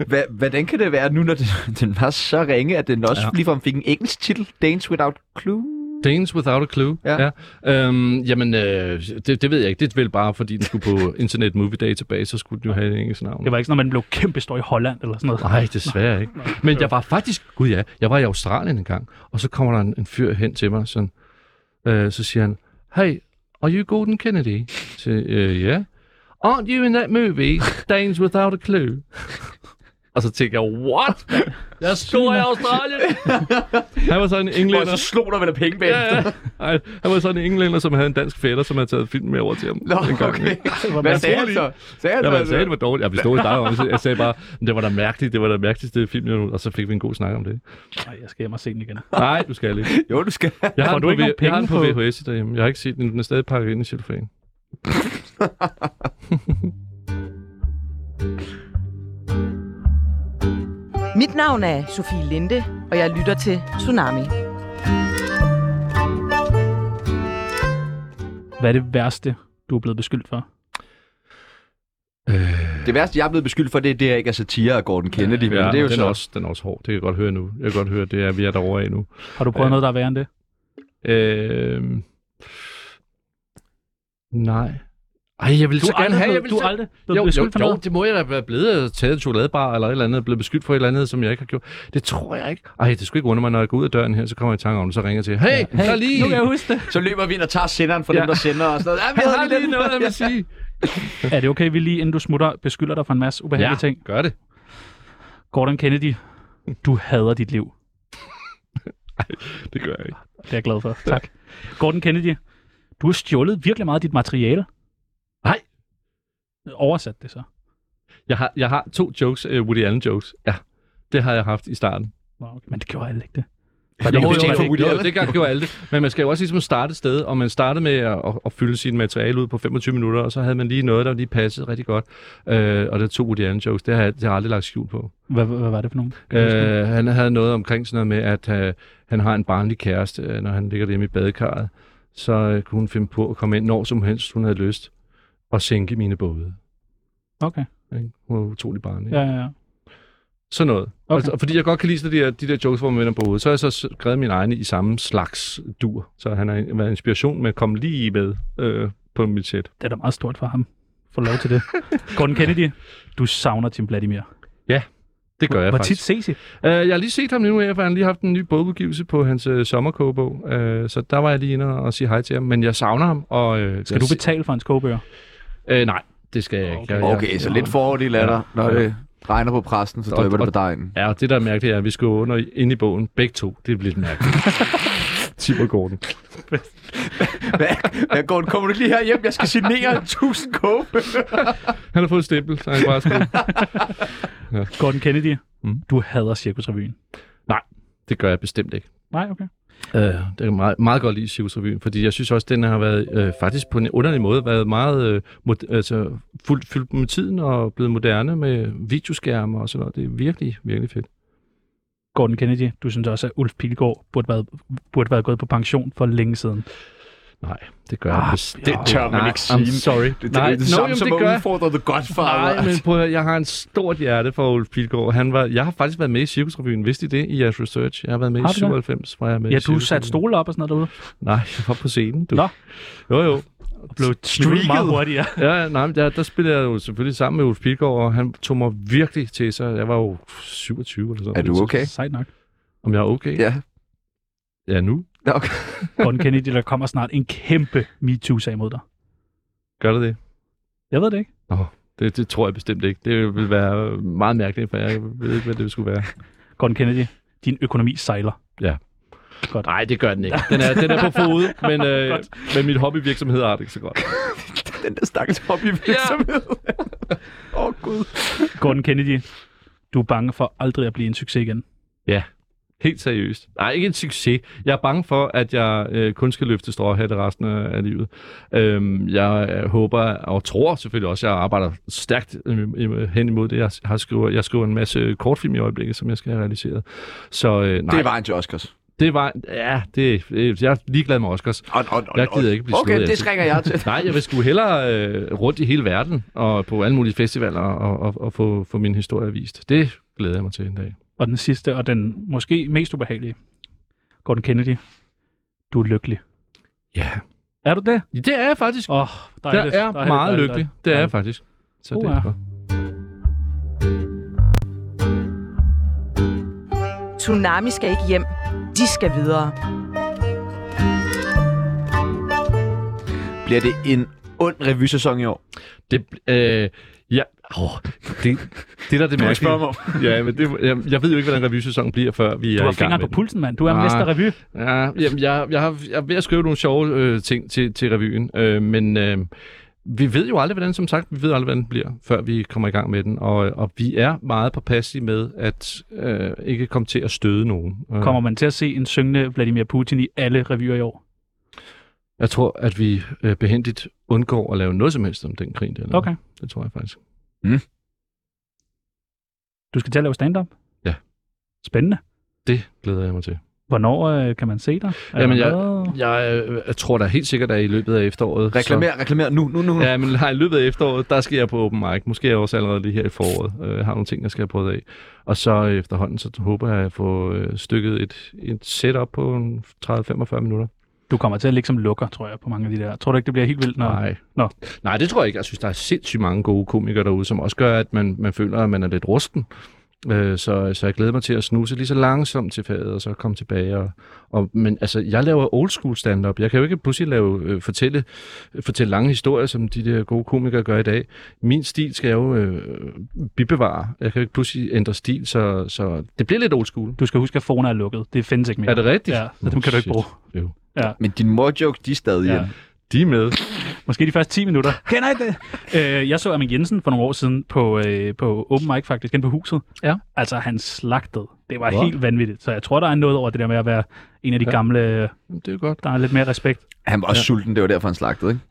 Hva, hvordan kan det være nu, når det, den var så ringe, at den også Ja. ja. ligefrem fik en engelsk titel? Dance Without Clue? Danes Without a Clue. Ja. ja. Øhm, jamen, øh, det, det ved jeg ikke. Det er vel bare, fordi den skulle på Internet Movie Database, så skulle den jo have et engelsk navn. Det var ikke sådan, at man blev kæmpe stor i Holland eller sådan noget. Nej, desværre ikke. Men jeg var faktisk, gud ja, jeg var i Australien en gang, og så kommer der en, en fyr hen til mig, sådan, øh, så siger han, hey, are you Gordon Kennedy? Så, øh, yeah. Aren't you in that movie, Danes Without a Clue? og så tænker jeg, what? Jeg er Du er i Australien? han var sådan en Og så englænder. slog der vel af penge bagefter. Ja, ja. Ej, han var sådan en englænder, som havde en dansk fætter, som havde taget film med over til ham. Nå, en gang, okay. Hvad sagde han så? Sagde han Ja, så? altså- man sagde, det var altså, dårligt. Jeg forstod dig om det. Jeg sagde bare, det var da mærkeligt, det var da mærkeligste film, jeg nu. Og så fik vi en god snak om det. Nej, jeg skal hjem og se den igen. Nej, du skal ikke. Jo, du skal. Jeg Får har, du du ikke ikke nogen på, jeg har den på penge på- VHS derhjemme. Jeg har ikke set den. Den er stadig pakket ind i cellofan. Mit navn er Sofie Linde, og jeg lytter til Tsunami. Hvad er det værste, du er blevet beskyldt for? Det værste, jeg er blevet beskyldt for, det er, det her ikke er satire af Gordon Kennedy. Ja, men det er jo den, så... er også, den er også hård. Det kan jeg godt høre nu. Jeg kan godt høre, det er, vi er derovre af nu. Har du prøvet Øh. noget, der er værre end det? Øh, nej. Ej, jeg vil Du så er gerne aldrig, have... Jeg blevet, vil du så... er aldrig blevet jo, jo, beskyldt for jo, noget? det må jeg da være blevet Jeg har taget en chokoladebar eller et eller andet, blevet beskyldt for et eller andet, som jeg ikke har gjort. Det tror jeg ikke. Ej, det skulle ikke undre mig, når jeg går ud af døren her, så kommer jeg i tanke om det, så ringer jeg til, hey, hey der er lige, Nu kan jeg huske det. Så løber vi ind og tager senderen fra Ja. ja. dem, der sender og sådan noget. Ja, vi jeg havde har lige lige den. noget, jeg vil sige. Er det okay, vi lige inden du smutter, beskylder dig for en masse ubehagelige Ja, ja. ting? gør det. Gordon Kennedy, du hader dit liv. Det gør jeg ikke. Det er jeg glad for. Tak. Gordon Kennedy, du har stjålet virkelig meget af dit materiale. Nej. Oversat det så. Jeg har, jeg har to jokes, uh, Woody Allen jokes. Ja, det har jeg haft i starten. Nå, okay. Men det gjorde alle ikke det. Jo, Jo, jo, det er for jo, Woody jo, Allen. det gør, gjorde alle det. Men man skal jo også ligesom starte et sted, og man startede med at, at, at fylde sit materiale ud på 25 minutter, og så havde man lige noget, der lige passede rigtig godt. Øh, og det to Woody Allen jokes, det har, jeg, det har jeg aldrig lagt skjul på. Hvad, hvad var det for nogen? Kan du huske det? Øh, han havde noget omkring sådan noget med, at øh, han har en barnlig kæreste, øh, når han ligger hjemme i badekarret. Så øh, kunne hun finde på at komme ind, når som helst hun havde lyst, og sænke mine både. Okay. Ikke? Hun var utrolig barnlig. Ja, ja, ja. Sådan noget. Okay. Okay. Altså, fordi jeg godt kan lide sådan de der, de der jokes, hvor man vender på hovedet. Så har jeg så skrevet min egne i samme slags dur. Så han har været inspiration med at komme lige med øh, på mit sæt. Det er da meget stort for ham. Få lov til det. Gordon Kennedy, du savner Tim Vladimir. Det gør jeg Hvor tit faktisk. ses I? Øh, jeg har lige set ham nu her, for han har lige haft en ny bogudgivelse på hans øh, sommerkogebog. Øh, så der var jeg lige inde og sige hej til ham. Men jeg savner ham. Og, øh, Skal jeg du s- betale for hans kogebøger? Øh, nej, det skal jeg ikke. Okay. Jeg- jeg- Okay, så lidt fordel er der. Når det regner på præsten, så Og- drøber og- det på dejen. Ja, og det der er mærkeligt er, at vi skal under ind i bogen. Begge to. Det er lidt mærkeligt. Tim og Gordon. Hvad, Gordon, kommer du lige her hjem? Jeg skal signere 1000 kåbe. Han har fået et stempel, så han kan bare skrive. Gordon Kennedy, Mm. mm. du hader Cirkusrevyen. Det gør jeg bestemt ikke. Nej, okay. Øh, det er meget, meget godt lide Cirkusrevyen, fordi jeg synes også, den har været øh, faktisk på en underlig måde været meget øh, mod, altså, fuldt fyldt med tiden og blevet moderne med videoskærme og sådan noget. Det er virkelig, virkelig fedt. Gordon Kennedy, du synes også, at Ulf Pilgaard burde være, burde være gået på pension for længe siden. Nej, det gør jeg Ah, bestemt det tør man Nej, ikke I'm sige. sorry. Det, det, Nej, Nej, det, det nå, samme jamen, som det at gør jeg. udfordre The Godfather. Nej, men prøv at høre, jeg har en stort hjerte for Ulf Pilgaard. Han var, jeg har faktisk været med i Cirkusrevyen. Vidste I det i jeres research? Jeg har været med Har i du det? 97, var jeg med Ja, i du Cirkusrevyen. satte stole op og sådan noget derude. Nej, jeg var på scenen, du. Nå. Jo, jo. Og blev streaket meget hurtigere. Ja, ja, nej, men der, der spillede jeg jo selvfølgelig sammen med Ulf Pilgaard, og han tog mig virkelig til sig. Jeg var jo 27 eller sådan Er du okay? Sejt nok. Om jeg er okay? Ja. Ja, nu. Nå, Okay. Gordon Kennedy, der kommer snart en kæmpe MeToo-sag mod dig. Gør det det? Jeg ved det ikke. Det, det tror jeg bestemt ikke. Det ville være meget mærkeligt, for jeg ved ikke, hvad det skulle være. Gordon Kennedy, din økonomi sejler. Nej, det gør den ikke. Den er, den er på fod, men, øh, Godt. men mit hobbyvirksomhed har det ikke så godt. Den der stakkels hobbyvirksomhed. Åh, oh, Gud. Gordon Kennedy, du er bange for aldrig at blive en succes igen. Helt seriøst. Nej, ikke en succes. Jeg er bange for, at jeg øh, kun skal løfte stråhatte resten af af livet. Øhm, jeg øh, håber og tror selvfølgelig også, at jeg arbejder stærkt øh, øh, hen imod det. Jeg, har skriver, jeg skriver en masse kortfilm i øjeblikket, som jeg skal have realiseret. Så øh, nej, Det var en til Oscars. Det var... Ja, det, øh, jeg er ligeglad med Oscars. Og, og, og, Jeg gider ikke blive Okay, slået det af. trænger jeg til. Nej, jeg vil sgu hellere øh, rundt i hele verden og på alle mulige festivaler og, og, og få, få min historie vist. Det glæder jeg mig til en dag. Og den sidste, og den måske mest ubehagelige. Gordon Kennedy. Du er lykkelig. Ja. Er du det? Det er jeg faktisk. Åh, oh, Jeg dejligt. er dejligt, meget dejligt, lykkelig. dejligt. Det er jeg faktisk. Så det Uha. er godt. Tsunami skal ikke hjem. De skal videre. Bliver det en ond revysæson i år? Det, øh, ja, oh, det, det der er må det mærkelige. spørge mig ja, men det, jeg, jeg ved jo ikke, hvordan revysæsonen bliver, før vi Du er har i gang fingeren med på den. pulsen, mand. Du er Nej. mester revy. Ja, jamen, jeg, jeg, har, jeg er ved at skrive nogle sjove øh, ting til, til revyen, øh, men øh, vi ved jo aldrig, hvordan som sagt, vi ved aldrig, hvordan den bliver, før vi kommer i gang med den, og, og vi er meget påpasselige med at øh, ikke komme til at støde nogen. Øh, Kommer man til at se en syngende Vladimir Putin i alle revyer i år? Jeg tror, at vi øh, behendigt undgår at lave noget som helst om den krig, der er lavet. Okay. Det tror jeg faktisk. Du skal til at lave stand-up? Ja. Spændende. Det glæder jeg mig til. Hvornår øh, kan man se dig? Er Jamen, der jeg- noget? Jeg, øh, jeg tror da helt sikkert, at i løbet af efteråret... Reklamer, reklamer nu, nu, nu. Så, nu. ja, men nej, i løbet af efteråret, der skal jeg på open mic. Måske er jeg også allerede lige her i foråret. Øh, Jeg har nogle ting, jeg skal have prøvet af. Og så efterhånden, så håber jeg at få øh, stykket et, et setup på en 30-45 minutter. Du kommer til at ligge som lukker, tror jeg, på mange af de der. Tror du ikke, det bliver helt vildt? Når... Nej. Nå. nej, det tror jeg ikke. Jeg synes, der er sindssygt mange gode komikere derude, som også gør, at man, man føler, at man er lidt rusten. Øh, Så, så jeg glæder mig til at snuse lige så langsomt til faget, og så komme tilbage. Og, og, men altså, jeg laver old school stand-up. Jeg kan jo ikke pludselig lave, øh, fortælle, fortælle lange historier, som de der gode komikere gør i dag. Min stil skal jeg jo øh, bibevare. Jeg kan jo ikke pludselig ændre stil, så, så det bliver lidt old school. Du skal huske, at Fona er lukket. Det findes ikke mere. Er det rigtigt? Ja, så dem kan du ikke Shit. bruge. Jo. Men din morjoke, de er stadig Ja. ja. De er med. Måske de første 10 minutter. Kender I det? Øh, jeg så Amin Jensen for nogle år siden på, øh, på Open Mic faktisk, inde på huset. Ja. Altså, han slagtede. Det var Wow. helt vanvittigt. Så jeg tror, der er noget over det der med at være en af de Ja. ja. gamle, øh, Jamen, Det er jo godt. der er lidt mere respekt. Han var også ja. sulten, det var derfor, han slagtede, ikke?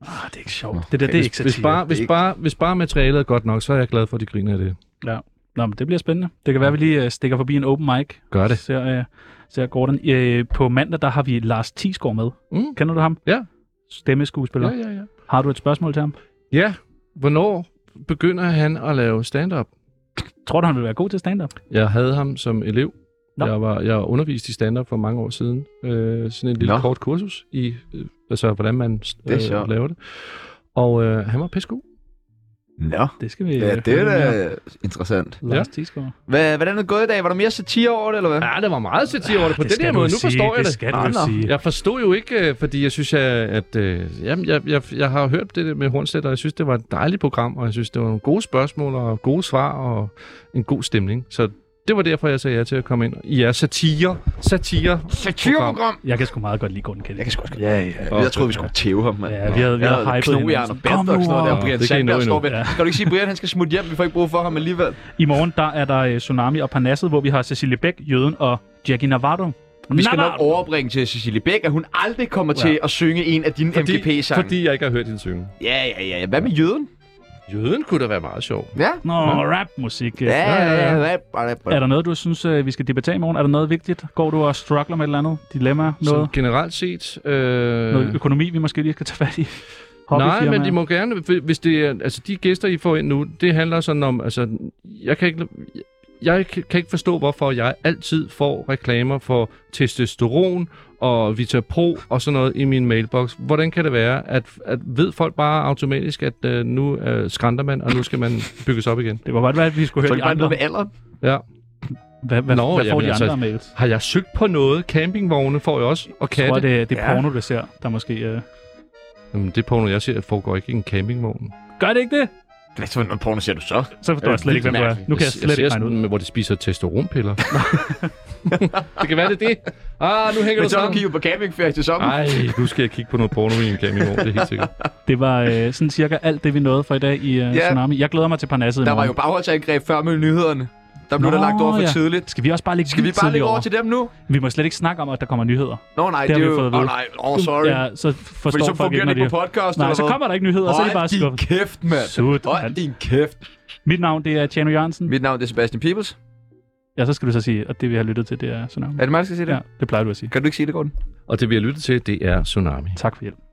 Ah, det er ikke sjovt. Det der, det er hvis- ikke Hvis satire. bare, hvis, ikke- bare, hvis bare materialet er godt nok, så er jeg glad for, at de griner af det. Nå, men det bliver spændende. Det kan være, at vi lige øh, stikker forbi en open mic. Gør det. Ser, øh, ser Gordon. Øh, på mandag, der har vi Lars Tisgaard med. Mm. Kender du ham? Ja. Stemmeskuespiller. Ja, Ja, ja. ja, ja. Har du et spørgsmål til ham? Ja, hvornår begynder han at lave stand-up? Tror du, han vil være god til stand-up? Jeg havde ham som elev. Nå. Jeg var jeg underviste i stand-up for mange år siden. Øh, sådan en lille Nå. kort kursus i, øh, altså, hvordan man øh, Det er sjovt. laver det. Og øh, han var pissegod. Nå. Det skal vi Ja, øh, det er høre da mere. interessant. Lars Tisgaard. Hvad, hvordan er det gået i dag? Var der mere satire over det, eller hvad? Ja, det var meget satire over det på den her måde. Nu forstår jeg det. det. skal Ah, du nå. sige. Jeg forstod jo ikke, øh, fordi jeg synes, at, at øh, jamen, jeg, jeg, jeg har hørt det der med Hornstedt, og jeg synes, det var et dejligt program, og jeg synes, det var nogle gode spørgsmål og gode svar og en god stemning. Så det var derfor, jeg sagde ja til at komme ind. I er satire. Satire. Satireprogram! Jeg kan sgu meget godt lide Gordon Kennedy. Jeg kan sgu også Ja, ja. Jeg troede, vi skulle tæve ham, mand. Ja, vi havde- vi Jeg havde hypet Knogjern hinanden. og Bert og Kom nu sådan noget der. over. og Brian Det kan I nå Sandberg endnu. står ved. Ja. Skal du ikke sige, Brian, han skal smutte hjem? Vi får ikke brug for ham alligevel. I morgen, der er der øh, Tsunami og Parnasset, hvor vi har Cecilie Bæk, Jøden og Jackie Navarro. Vi skal nok Navarro! overbringe til Cecilie Bæk, at hun aldrig kommer til at synge en af dine MGP-sange. fordi jeg ikke har hørt hende synge. Ja, ja, ja. Hvad med jøden? Jøden kunne da være meget sjov. Ja. Nå, rapmusik. øh. Ja, ja, ja. Rap, rap, Er rap. der noget, du synes, øh, vi skal debattere i morgen? Er der noget vigtigt? Går du og struggler med et eller andet? Dilemma? Noget. Noget, Generelt set... Øh, noget økonomi, vi måske lige skal tage fat i? Nej, men Hobbyfirmaer? de må gerne, hvi- hvis det er, altså de gæster, I får ind nu, det handler sådan om, altså, jeg kan ikke, jeg kan kan ikke forstå, hvorfor jeg altid får reklamer for testosteron og Vitapro og sådan noget i min mailbox. Hvordan kan det være, at, at ved folk bare automatisk, at øh, nu øh, skrænter man, og nu skal man bygges op igen? Det var godt være, at vi skulle Tror høre du de bare andre. noget med alderen? Ja. Hvad, hvad, Nå, Nå, hvad får jamen de altså, andre altså, mails? Har jeg søgt på noget? Campingvogne får jeg også, og Jeg katte. tror, Det. det, det er Ja. porno, du ser, der måske... Øh... Jamen, det porno, jeg ser, foregår ikke i en campingvogn. Gør det ikke det? Hvad for noget porno ser du så? Så forstår jeg slet ikke, hvem du er. Nu kan jeg slet jeg ikke ser regne ud. sådan, med, hvor de spiser testosteronpiller. det kan være, det er det. Ah, nu hænger Men du så kan du sammen. kigge på campingferie til sommer. Nej, nu skal jeg kigge på noget porno i en campingvogn, det er helt sikkert. Det var øh, sådan cirka alt det, vi nåede for i dag i øh, Ja. Tsunami. Jeg glæder mig til Parnasset Der i var morgen. jo bagholdsangreb før med nyhederne. Der blev Nå, der lagt over for ja. tidligt. Skal vi også bare lægge Skal vi lidt bare lægge tidligere over til dem nu? Vi må slet ikke snakke om, at der kommer nyheder. Nå nej, det, Det har er vi jo... fået at Åh vide. oh, nej, oh, sorry. Ja, så forstår Fordi så folk ikke, fungerer når det de... ikke på podcast. Nej, eller så hvad? kommer der ikke nyheder, så er det Hold bare din skuffet. kæft, mand. Sut, Hold mand. din kæft. Mit navn, det er Tjano Jørgensen. Mit navn er Sebastian Peebles. Ja, så skal du så sige, at det vi har lyttet til, det er Tsunami. Er det mig, der skal sige det? Ja, det plejer du at sige. Kan du ikke sige det, Gordon? Og det, vi har lyttet til, det er Tsunami. Tak for hjælp.